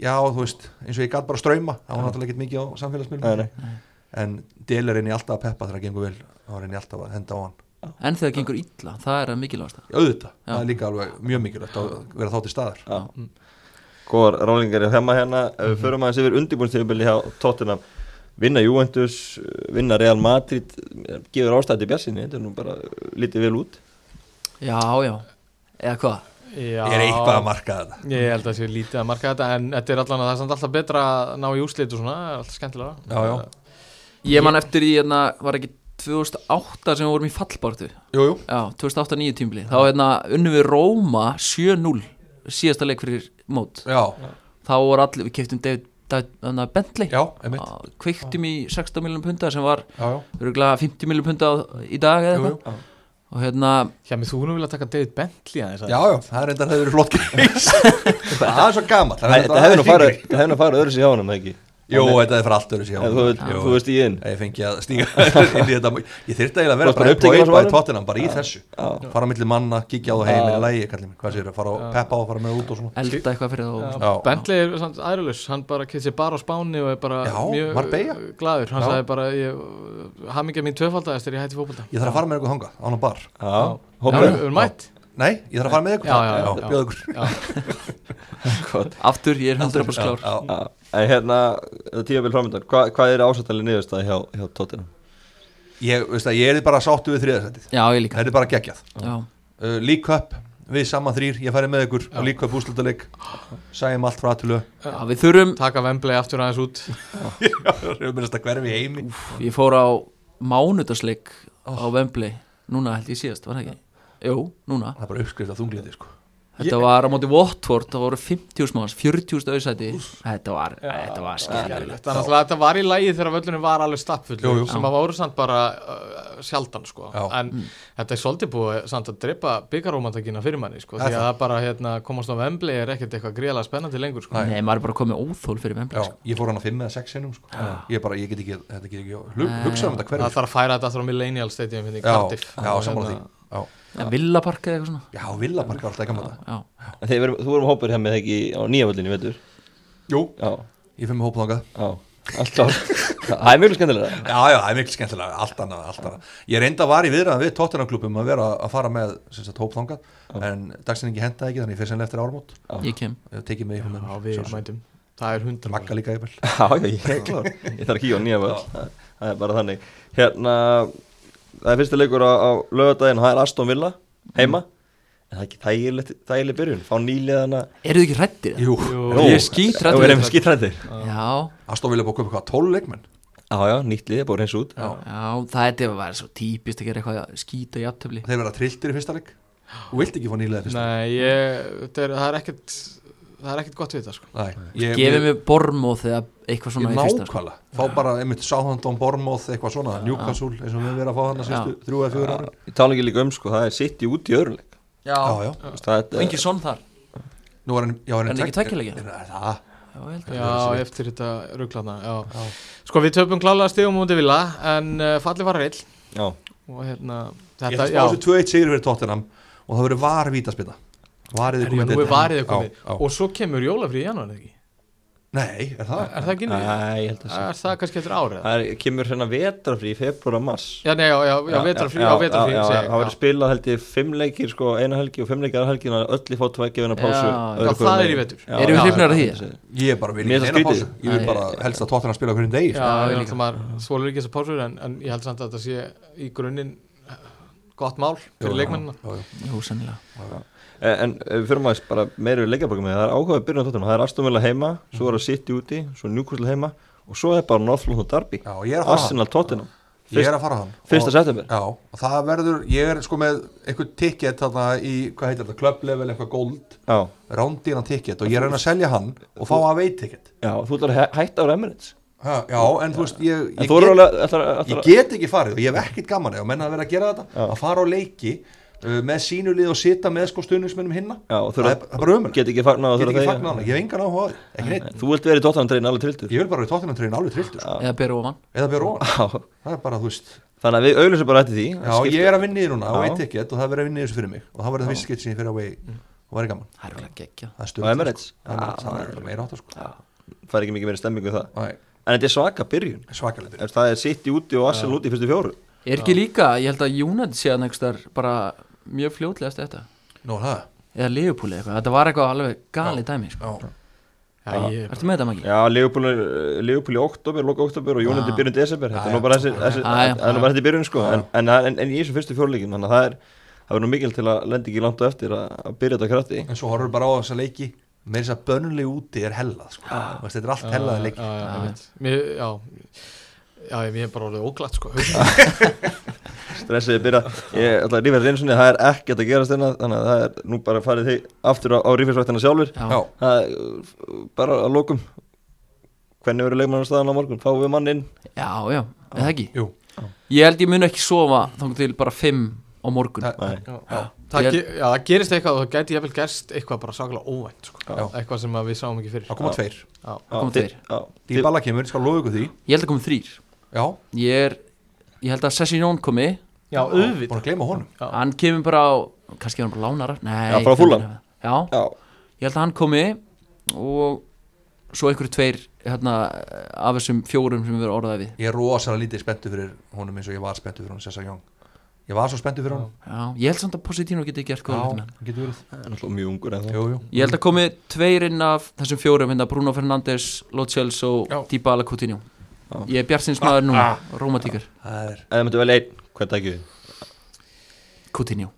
[SPEAKER 2] já þú veist eins og ég gæt bara ströyma það var náttúrulega ekkert mikið á
[SPEAKER 1] Nei,
[SPEAKER 2] samfélagsmiðlum
[SPEAKER 1] nei
[SPEAKER 2] en Dele er inn í alltaf að peppa þegar það gengur vel þá er inn í alltaf að henda á hann
[SPEAKER 4] en þegar gengur illa, það er að mikilvægast
[SPEAKER 2] auðvitað það er líka alveg mjög mikilvægt að vera þá til staðar
[SPEAKER 1] Já. Góðar rálingar er hefma hérna Ef við förum aðeins yfir undirbúinstjöfubili hjá Tottenham Vinna Juventus, vinna Real Madrid Gefur ástæði bjarsinni Þetta er nú bara uh, lítið vel út
[SPEAKER 4] já, já, eða hvað
[SPEAKER 3] Já.
[SPEAKER 2] ég er eitthvað að marka þetta
[SPEAKER 3] ég held að það sé lítið að marka þetta en þetta er allan að það er samt alltaf betra að ná í úrslit og svona, það er alltaf skemmtilega
[SPEAKER 2] já já
[SPEAKER 4] ég man eftir því, hérna, var ekki 2008 sem við vorum í fallbártu já,
[SPEAKER 2] jú jú
[SPEAKER 4] 2008-9 tímli, þá hérna unnum við Róma 7-0 síðasta leik fyrir mót
[SPEAKER 2] já
[SPEAKER 4] þá voru allir, við keftum David Dav- þarna Bentley
[SPEAKER 2] Já, einmitt
[SPEAKER 4] Á- kveiktum í 16 miljum punda sem var
[SPEAKER 2] Já, já,
[SPEAKER 4] örgulega 50 miljum punda á- í dag eða
[SPEAKER 2] jú, jú.
[SPEAKER 4] eitthvað og hérna,
[SPEAKER 3] Já, mér þú nú vilja taka David Bentley aðeins að
[SPEAKER 2] já, já, það er reyndar hefur verið flott
[SPEAKER 1] [LAUGHS]
[SPEAKER 2] case Það er svo gamalt
[SPEAKER 1] Æ, Þetta hefði nú farið þetta hefði nú farið öðru sér hjá honum, eða ekki?
[SPEAKER 2] Jú, þetta er fyrir allt öðru
[SPEAKER 1] En þú,
[SPEAKER 2] sér
[SPEAKER 1] veit- þú veist í inn
[SPEAKER 2] Ef ég fengi að stíga [LAUGHS] inn í þetta Ég þyrfti eiginlega að vera
[SPEAKER 1] Varst bara
[SPEAKER 2] bara
[SPEAKER 1] upptekinn af
[SPEAKER 2] employed
[SPEAKER 1] þessu
[SPEAKER 2] by
[SPEAKER 1] varum?
[SPEAKER 2] Tottenham bara í þessu Fara á milli manna, kíkja á það heim
[SPEAKER 1] Já.
[SPEAKER 2] í lægi, kallið minn Hvað sér, fara á peppa og fara með út og svona
[SPEAKER 4] elda eitthvað fyrir
[SPEAKER 3] Já,
[SPEAKER 4] þá
[SPEAKER 2] Já.
[SPEAKER 3] Bentley er samt æðralus, hann bara kemur sér bara á Spáni og er bara
[SPEAKER 2] Já, var
[SPEAKER 3] mjög
[SPEAKER 2] beygja.
[SPEAKER 3] uh, glaður hann
[SPEAKER 2] Já.
[SPEAKER 3] sagði bara, ég, hamingja mín tvöfaldagast þegar ég hætti fótbolta
[SPEAKER 2] Ég þarf að fara með eitthvað þangað, án og bar
[SPEAKER 1] Já,
[SPEAKER 3] Já,
[SPEAKER 1] hópaðu
[SPEAKER 3] við erum mætt
[SPEAKER 2] Nei, ég þarf að fara með
[SPEAKER 3] Já, já, já,
[SPEAKER 2] eitthvað
[SPEAKER 3] já.
[SPEAKER 2] Bjóð ykkur
[SPEAKER 1] Gott.
[SPEAKER 4] aftur, ég er 100% klár
[SPEAKER 2] Já, já.
[SPEAKER 1] Já, En hérna, tíabil framöndan Hva, Hvað er ásættalið niðurstað hjá, hjá Tottenham?
[SPEAKER 2] Ég, veist að ég er bara sáttu við þriðasætið
[SPEAKER 4] já, ég líka
[SPEAKER 2] Þetta er bara geggjað
[SPEAKER 4] já.
[SPEAKER 2] uh, Líköp, við saman þrýr, ég færi með ykkur og líköp úslutaleg, sæjum allt frá aðtölu
[SPEAKER 4] já, við þurfum,
[SPEAKER 3] taka Wembley aftur aðeins út
[SPEAKER 2] Ég er minnast að hverfi í heimi
[SPEAKER 4] ég fór á mánudagsleik á Wembley núna held ég síðast, var það ekki? Jú, núna,
[SPEAKER 2] Það er bara uppskrift af þunglindi sko
[SPEAKER 4] þetta var á móti Watford, það voru 50.000 manns, 40.000 auðsæti, þetta var, þetta var skemmtilegt
[SPEAKER 3] þannig að þetta var í lægi þegar völlunum var alveg
[SPEAKER 2] Jú, jú.
[SPEAKER 3] stappfull sem að voru samt bara uh, sjaldan sko.
[SPEAKER 2] Já.
[SPEAKER 3] en þetta er svolítið búið samt að drepa byggarómantakina fyrir manni sko,
[SPEAKER 2] Það
[SPEAKER 3] því
[SPEAKER 2] er
[SPEAKER 3] að það bara hérna, komast á Wembley er ekkert eitthvað gríðlega spennandi lengur sko.
[SPEAKER 4] Nei, maður er bara komið óþól fyrir Wembley
[SPEAKER 2] Já,
[SPEAKER 4] sko.
[SPEAKER 2] ég fór hann að fimm eða sex sinnum sko. Ég bara, ég get ekki, þetta get ekki hug, Hugsa um þetta
[SPEAKER 3] það
[SPEAKER 2] hverfi
[SPEAKER 3] þarf að færa þetta aftur á Millennial Stadium hérna í
[SPEAKER 2] Já,
[SPEAKER 3] Cardiff
[SPEAKER 2] já
[SPEAKER 3] Og,
[SPEAKER 2] saman því
[SPEAKER 3] hérna,
[SPEAKER 2] Já,
[SPEAKER 4] en Villapark eða eitthvað svona
[SPEAKER 2] já Villapark var alltaf ekki að maður
[SPEAKER 4] já.
[SPEAKER 1] En þeir verum, Þú erum hópar hjá mig ekki á nýja völlinu, veitur?
[SPEAKER 2] Jú,
[SPEAKER 1] Já,
[SPEAKER 2] ég fyrir mig hópa þangað
[SPEAKER 1] já, alltaf [LAUGHS] Það er mjög skemmtilega
[SPEAKER 2] Já, já, það er mikil skemmtilega, allt annað, allt annað. Ég reynda að var í viðræðan við Tottenham-klubum að vera að fara með sem sagt, hópþangað, en dagsinningi hentaði ekki, þannig ég fyrir sennilega eftir áramót.
[SPEAKER 4] ég kem
[SPEAKER 2] Ég tekið mig eitthvað með
[SPEAKER 3] já,
[SPEAKER 2] mér,
[SPEAKER 3] við
[SPEAKER 2] sjálfsagt.
[SPEAKER 3] mætum það er hundra
[SPEAKER 2] Magga líka yfir.
[SPEAKER 3] [LAUGHS]
[SPEAKER 1] Já, já, ég er klár Ég þarf að kíka á nýja völl Það það er bara þannig Hérna, það er fyrsti leikur á, á lögadaginn Það er Aston Villa, heima En það er ekki þægilegt, þægileg byrjun Fá nýliðana
[SPEAKER 4] eru þið ekki hrættir?
[SPEAKER 2] Jú,
[SPEAKER 4] Ég er skítræddur
[SPEAKER 1] Þú
[SPEAKER 4] við
[SPEAKER 1] erum
[SPEAKER 4] þetta.
[SPEAKER 1] skítrættir
[SPEAKER 4] já,
[SPEAKER 2] Aston Villa búið að kaupa eitthvað 12 leikmenn.
[SPEAKER 1] Já, já, nýtt lið, búið eins út Já,
[SPEAKER 4] já, það er þetta var svo típist að gera eitthvað að skýta í aftöfli
[SPEAKER 2] Þeir vera trilltir í fyrsta leik. Þú vilt ekki fá nýlega í fyrsta leik.
[SPEAKER 3] Nei, ég, það, er, það er ekkert það er ekkert gott við þetta sko.
[SPEAKER 2] Nei. Ég,
[SPEAKER 4] gefið mér bormóð eða eitthvað
[SPEAKER 2] ég
[SPEAKER 4] svona í fyrsta sko.
[SPEAKER 2] nákvæmlega. Fá bara einmitt Southampton, Bournemouth, eitthvað svona, Newcastle, eins og við vera að fá þarna síðustu þrjú eða fjögur ára.
[SPEAKER 1] Ég tala ekki líka um, sko, það er sitt í út í öruleik
[SPEAKER 2] Já, já.
[SPEAKER 1] Það
[SPEAKER 4] og engin sonn þar
[SPEAKER 2] Nú er hann, já, er
[SPEAKER 4] Er hann
[SPEAKER 2] hann
[SPEAKER 4] ekki tveggja leikja?
[SPEAKER 2] Er- er það-
[SPEAKER 4] já, ég held að
[SPEAKER 3] Já, eftir þetta rugglana já. Sko, við töpum klálega stigum mútið vilja en uh, fallið var reill
[SPEAKER 1] Já,
[SPEAKER 3] og hérna,
[SPEAKER 2] Ég
[SPEAKER 3] þetta,
[SPEAKER 2] ætla að
[SPEAKER 3] já,
[SPEAKER 2] spá þessu 2-1 sigur fyrir Tottenham og það verður var vítaspinna. Varið
[SPEAKER 3] er ég nú er varið eitthvað
[SPEAKER 2] Já, já.
[SPEAKER 3] og svo kemur jólafri í janúar, ekki?
[SPEAKER 2] Nei, er það?
[SPEAKER 3] Er það ekki nýtt?
[SPEAKER 1] Æ, ég held að
[SPEAKER 3] Er það kannski eftir árið?
[SPEAKER 1] Það er, kemur hérna vetrafrí í februar og mars
[SPEAKER 3] Já, nei, já, já, já, vetrarfrí, já, vetrarfrí
[SPEAKER 1] já,
[SPEAKER 3] segi
[SPEAKER 1] já,
[SPEAKER 3] ég,
[SPEAKER 1] það verður spilað held ég fimm leikir sko, eina helgi og fimm leikir aðra helgi og öll í fót tveggja vinna pásu
[SPEAKER 4] Já,
[SPEAKER 1] öðru
[SPEAKER 3] já,
[SPEAKER 1] hvorum
[SPEAKER 3] það er
[SPEAKER 1] megin.
[SPEAKER 3] í vetur.
[SPEAKER 1] Já,
[SPEAKER 4] Erum við
[SPEAKER 1] já,
[SPEAKER 4] hrifnar
[SPEAKER 1] já,
[SPEAKER 4] af
[SPEAKER 1] já,
[SPEAKER 4] því?
[SPEAKER 2] Ég er bara vil
[SPEAKER 1] Mér finnst
[SPEAKER 2] ekki neina
[SPEAKER 1] það
[SPEAKER 2] pásu
[SPEAKER 1] skrítið.
[SPEAKER 2] Ég vil
[SPEAKER 4] Nei.
[SPEAKER 2] bara helst að Tottenham spila okkur um degi
[SPEAKER 3] Já,
[SPEAKER 2] sko.
[SPEAKER 3] já,
[SPEAKER 4] ég
[SPEAKER 3] já,
[SPEAKER 4] líka.
[SPEAKER 3] maður svolur ekki þessar pásur en, en ég held samt að þetta sé í grunninn eh, gott mál fyrir leikmennina
[SPEAKER 2] Já, já.
[SPEAKER 4] jú, sennilega
[SPEAKER 1] En, en ef við fyrir maður bara meira við leikjabakum það er áhugaðið byrjun á tóttunum, það er Astonvilla heima svo er það City úti, svo Newcastle heima og svo er bara North London Derby
[SPEAKER 2] Já, ég er að fara
[SPEAKER 1] Arsenal tóttunum,
[SPEAKER 2] Ég er að fara hann
[SPEAKER 1] fyrsta
[SPEAKER 2] Og-
[SPEAKER 1] september
[SPEAKER 2] Já, og það verður, ég er sko með eitthvað ticket þarna í, hvað heitir þetta, club level eitthvað gold,
[SPEAKER 1] Já,
[SPEAKER 2] rándýran ticket og ég er að reyna að selja hann og fá að veit ticket
[SPEAKER 1] já, þú ætlar að hæ- hætta á Emirates
[SPEAKER 2] Ha, Já, en þú veist, ég,
[SPEAKER 1] En
[SPEAKER 2] ég,
[SPEAKER 1] þú eru
[SPEAKER 2] get,
[SPEAKER 1] alveg ætlar,
[SPEAKER 2] ég
[SPEAKER 1] ætlar,
[SPEAKER 2] get ekki farið og ég hef ekkert gaman eða menna að vera að gera þetta, að fara á leiki uh, með sínulið og sitja með sko stuðningsmennum hinna,
[SPEAKER 1] Já, og þú
[SPEAKER 2] það
[SPEAKER 1] eru-
[SPEAKER 2] er það er bara ömurlegt.
[SPEAKER 1] get ekki fagnað og
[SPEAKER 2] Get
[SPEAKER 1] þú
[SPEAKER 2] ekki
[SPEAKER 1] eru að
[SPEAKER 2] fagnað hana, ég hef engan áhuga á því, ekki neitt
[SPEAKER 1] þegja. Þú vilt verið tóttunum treyin alveg trildur
[SPEAKER 2] Ég vil bara við Tottenham treyin alveg trilltur sko.
[SPEAKER 4] eða beru ofan
[SPEAKER 2] eða björ ofan,
[SPEAKER 1] Já,
[SPEAKER 2] það er bara þú veist
[SPEAKER 1] Þannig að við auðlum bara eftir því
[SPEAKER 2] Já, ég er að vinna í því núna á
[SPEAKER 1] Já. Mm.
[SPEAKER 2] eitt ekkert og það er verið að vinna í þessu fyrir mig og það verið það fyrst skeitt sem ég fyrir á vegi og verið gaman,
[SPEAKER 4] það er alveg geggja
[SPEAKER 2] það
[SPEAKER 1] Og
[SPEAKER 2] er stöð
[SPEAKER 1] Emirates.
[SPEAKER 2] það er meira áttar sko
[SPEAKER 1] Það er ekki mikið meira stemmingu það
[SPEAKER 2] Nei,
[SPEAKER 1] En þetta er svaka byrjun
[SPEAKER 2] Svakalega
[SPEAKER 1] Ef Það er City úti og Arsenal úti í fyrstu fjóru
[SPEAKER 4] er ekki líka, ég held að United sé að nægstar bara mjög fljótlega eftir þetta
[SPEAKER 2] Nú er það,
[SPEAKER 4] eða Liverpool eða eitthvað, þetta var eitthvað alveg gali dæmi sko.
[SPEAKER 2] já,
[SPEAKER 3] Já, ég,
[SPEAKER 4] ertu með þetta Maggi?
[SPEAKER 1] Já, Liverpool, er- Liverpool í oktober, loka oktober og Jónandi
[SPEAKER 4] Já.
[SPEAKER 1] byrjun desember Þetta er nú bara þessi, þessi,
[SPEAKER 4] Já, já.
[SPEAKER 1] það er nú bara þessi byrjun sko en, en, en, en í þessu fyrstu fjóruleikin Þannig að það er Það verður nú mikil til að lendi ekki langt á eftir að að byrja þetta á krafti
[SPEAKER 2] en svo horfum við bara á þessa leiki með þess að bönnuleg úti er hellað sko, Þú veist, þetta er allt hellaði leiki
[SPEAKER 3] já, já, ég veit. Mér, já, já, ég mér er bara orðið óglatt sko
[SPEAKER 1] Stressiði byrja Ég ætla að rífa þetta einu sinni Það er ekkert að gerast hérna Þannig að það er nú bara farið þig aftur á, á rífisvættina sjálfur
[SPEAKER 4] Já.
[SPEAKER 2] Já,
[SPEAKER 1] Það er uh, bara að lokum hvernig verður leikmannastæðan á morgun, fáum við mann inn
[SPEAKER 4] já, já, er það ekki
[SPEAKER 2] Jú.
[SPEAKER 4] ég held ég mun ekki sofa þannig til bara 5 á morgun
[SPEAKER 2] Það-
[SPEAKER 1] Nei.
[SPEAKER 3] Já,
[SPEAKER 4] Ég
[SPEAKER 3] það,
[SPEAKER 4] held-
[SPEAKER 3] ge já, það gerist eitthvað og það gæti ég vel gerst eitthvað bara svakalega óvænt sko.
[SPEAKER 2] Já.
[SPEAKER 3] eitthvað sem að við sáum ekki fyrir
[SPEAKER 2] Það koma
[SPEAKER 1] Já.
[SPEAKER 2] tveir
[SPEAKER 3] Já.
[SPEAKER 4] koma
[SPEAKER 1] Já,
[SPEAKER 4] tveir.
[SPEAKER 1] já, þið-
[SPEAKER 2] Dybala kemur, ég skal lofa ykkur því
[SPEAKER 4] ég held að koma þrýr
[SPEAKER 2] Já,
[SPEAKER 4] ég er, ég held að Sessi Jón komi
[SPEAKER 3] Já,
[SPEAKER 2] búin
[SPEAKER 3] auðvitað
[SPEAKER 2] að gleyma honum
[SPEAKER 3] Já.
[SPEAKER 4] hann kemur bara á, kannski er hann bara lánara Nei,
[SPEAKER 1] Já, frá Fulham.
[SPEAKER 4] já,
[SPEAKER 1] já,
[SPEAKER 4] ég held að hann komi og svo einhverju tveir hérna, af þessum fjórum sem við erum orðaði við
[SPEAKER 2] Ég er rosalega lítið spenntu fyrir honum eins og ég var spenntu fyrir honum Sessa Young Ég var svo spenntu fyrir honum
[SPEAKER 4] já, ég held samt að Positino geti gert góða hlutina
[SPEAKER 2] það getur verið
[SPEAKER 1] hann er alltaf mjög ungur en
[SPEAKER 2] Jú, jú
[SPEAKER 4] Ég held að komi tveir inn af þessum fjórum hérna Bruno Fernandes, Lo Celso,
[SPEAKER 3] Já.
[SPEAKER 4] Dybala Coutinho
[SPEAKER 1] Já.
[SPEAKER 4] Ég er Bjartsins maður núna, rómatíkar
[SPEAKER 2] Það er
[SPEAKER 1] það myndi vel einn, hvað dækju þið?
[SPEAKER 4] Coutinho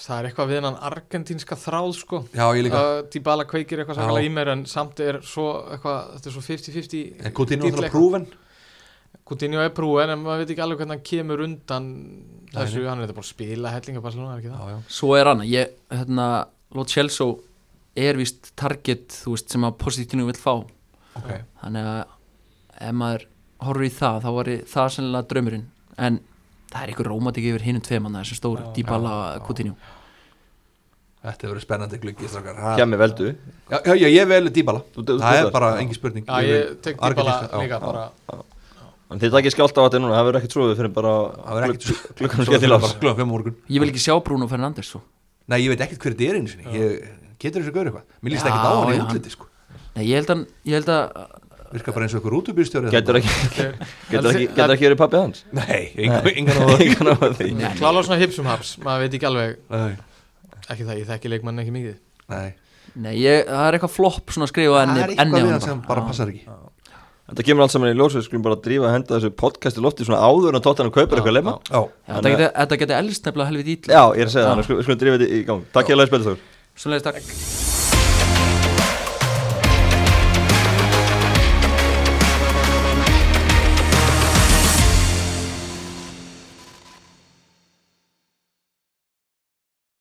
[SPEAKER 3] það er eitthvað við hennan argentínska þráð sko.
[SPEAKER 2] Já, ég líka
[SPEAKER 3] uh, Dybala kveikir
[SPEAKER 2] Já.
[SPEAKER 3] eitthvað svakalega í mér en samt er svo eitthvað, þetta er svo 50-50
[SPEAKER 2] En Coutinho
[SPEAKER 3] Dýrleik.
[SPEAKER 2] er náttúrulega prúven
[SPEAKER 3] Coutinho er prúin en maður veit ekki alveg hvernig hann kemur undan þessu,
[SPEAKER 2] nei.
[SPEAKER 3] hann er þetta bara að spila hellinga Barcelona, er ekki það?
[SPEAKER 2] Já, já
[SPEAKER 4] Svo er hann, ég, hérna, Lo Celso er víst target, þú veist, sem að Positino vill fá
[SPEAKER 2] Ok
[SPEAKER 4] Þannig að ef maður horfir í það, þá var það sennilega draumurinn En það er einhver rómatík yfir hinum tveim hann þessum stóru,
[SPEAKER 3] Já.
[SPEAKER 4] Dybala,
[SPEAKER 2] Já, já.
[SPEAKER 4] Coutinho
[SPEAKER 2] Þetta hefur verið spennandi gluggi strákar Ha.
[SPEAKER 1] hjá mig veldu,
[SPEAKER 2] Já, já, já, ég vel Dybala
[SPEAKER 1] Þú- þú-
[SPEAKER 2] Það
[SPEAKER 1] þú-
[SPEAKER 2] er bara
[SPEAKER 1] já.
[SPEAKER 2] engin spurning
[SPEAKER 3] Já, ég tek
[SPEAKER 2] vil-
[SPEAKER 3] Dybala
[SPEAKER 2] Argentíska, já.
[SPEAKER 3] líka bara
[SPEAKER 2] [LAUGHS]
[SPEAKER 1] en þið dækju skjált á þetta núna það verður ekkert trúið fyrir bara
[SPEAKER 2] Það verður ekkert
[SPEAKER 1] glugg- glugganum skell í lás
[SPEAKER 2] Glöfum fimm á um morgun
[SPEAKER 4] Ég vil ekki sjá Bruno Fernandes sko. svo
[SPEAKER 2] Nei, ég veit ekkert hver þetta er einu sinni Ég getur þessu gaur eitthvað Mér líst
[SPEAKER 4] Já,
[SPEAKER 2] ekkert á hann í
[SPEAKER 4] já.
[SPEAKER 2] útliti sko
[SPEAKER 4] Nei, ég held, hann, ég held að
[SPEAKER 2] Virkar bara eins og ykkur útubýrstjóri
[SPEAKER 1] getur ekki,
[SPEAKER 3] [LAUGHS]
[SPEAKER 1] getur ekki, getur ekki verið pappið hans
[SPEAKER 2] Nei, engan-
[SPEAKER 1] [LAUGHS]
[SPEAKER 2] engan á það
[SPEAKER 1] Engan á því.
[SPEAKER 4] Nei.
[SPEAKER 3] klála svona hipsum haps, maður veit ekki alveg
[SPEAKER 2] Nei,
[SPEAKER 3] ekki það, ég þekki leikmann ekki mikið
[SPEAKER 2] nei
[SPEAKER 4] Nei, ég, það er eitthvað flopp svona skrifað
[SPEAKER 2] Það
[SPEAKER 4] enni
[SPEAKER 2] er eitthvað
[SPEAKER 4] enni á
[SPEAKER 2] við
[SPEAKER 4] honum
[SPEAKER 2] hann sem bara
[SPEAKER 4] Já.
[SPEAKER 2] passar ekki
[SPEAKER 1] þetta kemur allt saman í ljós við skulum bara drífa að henda þessu podcast í lofti svona áður en að tóttan kaupir eitthvað leima
[SPEAKER 2] Já,
[SPEAKER 4] Já,
[SPEAKER 1] Þannig að-
[SPEAKER 4] Þetta geti- þetta geti elst nefnilega helviti ítla
[SPEAKER 1] já, ég er að segja það, þannig að skulum- skulum drífa þetta í gang takk ég að leið
[SPEAKER 4] Svo leiðist takk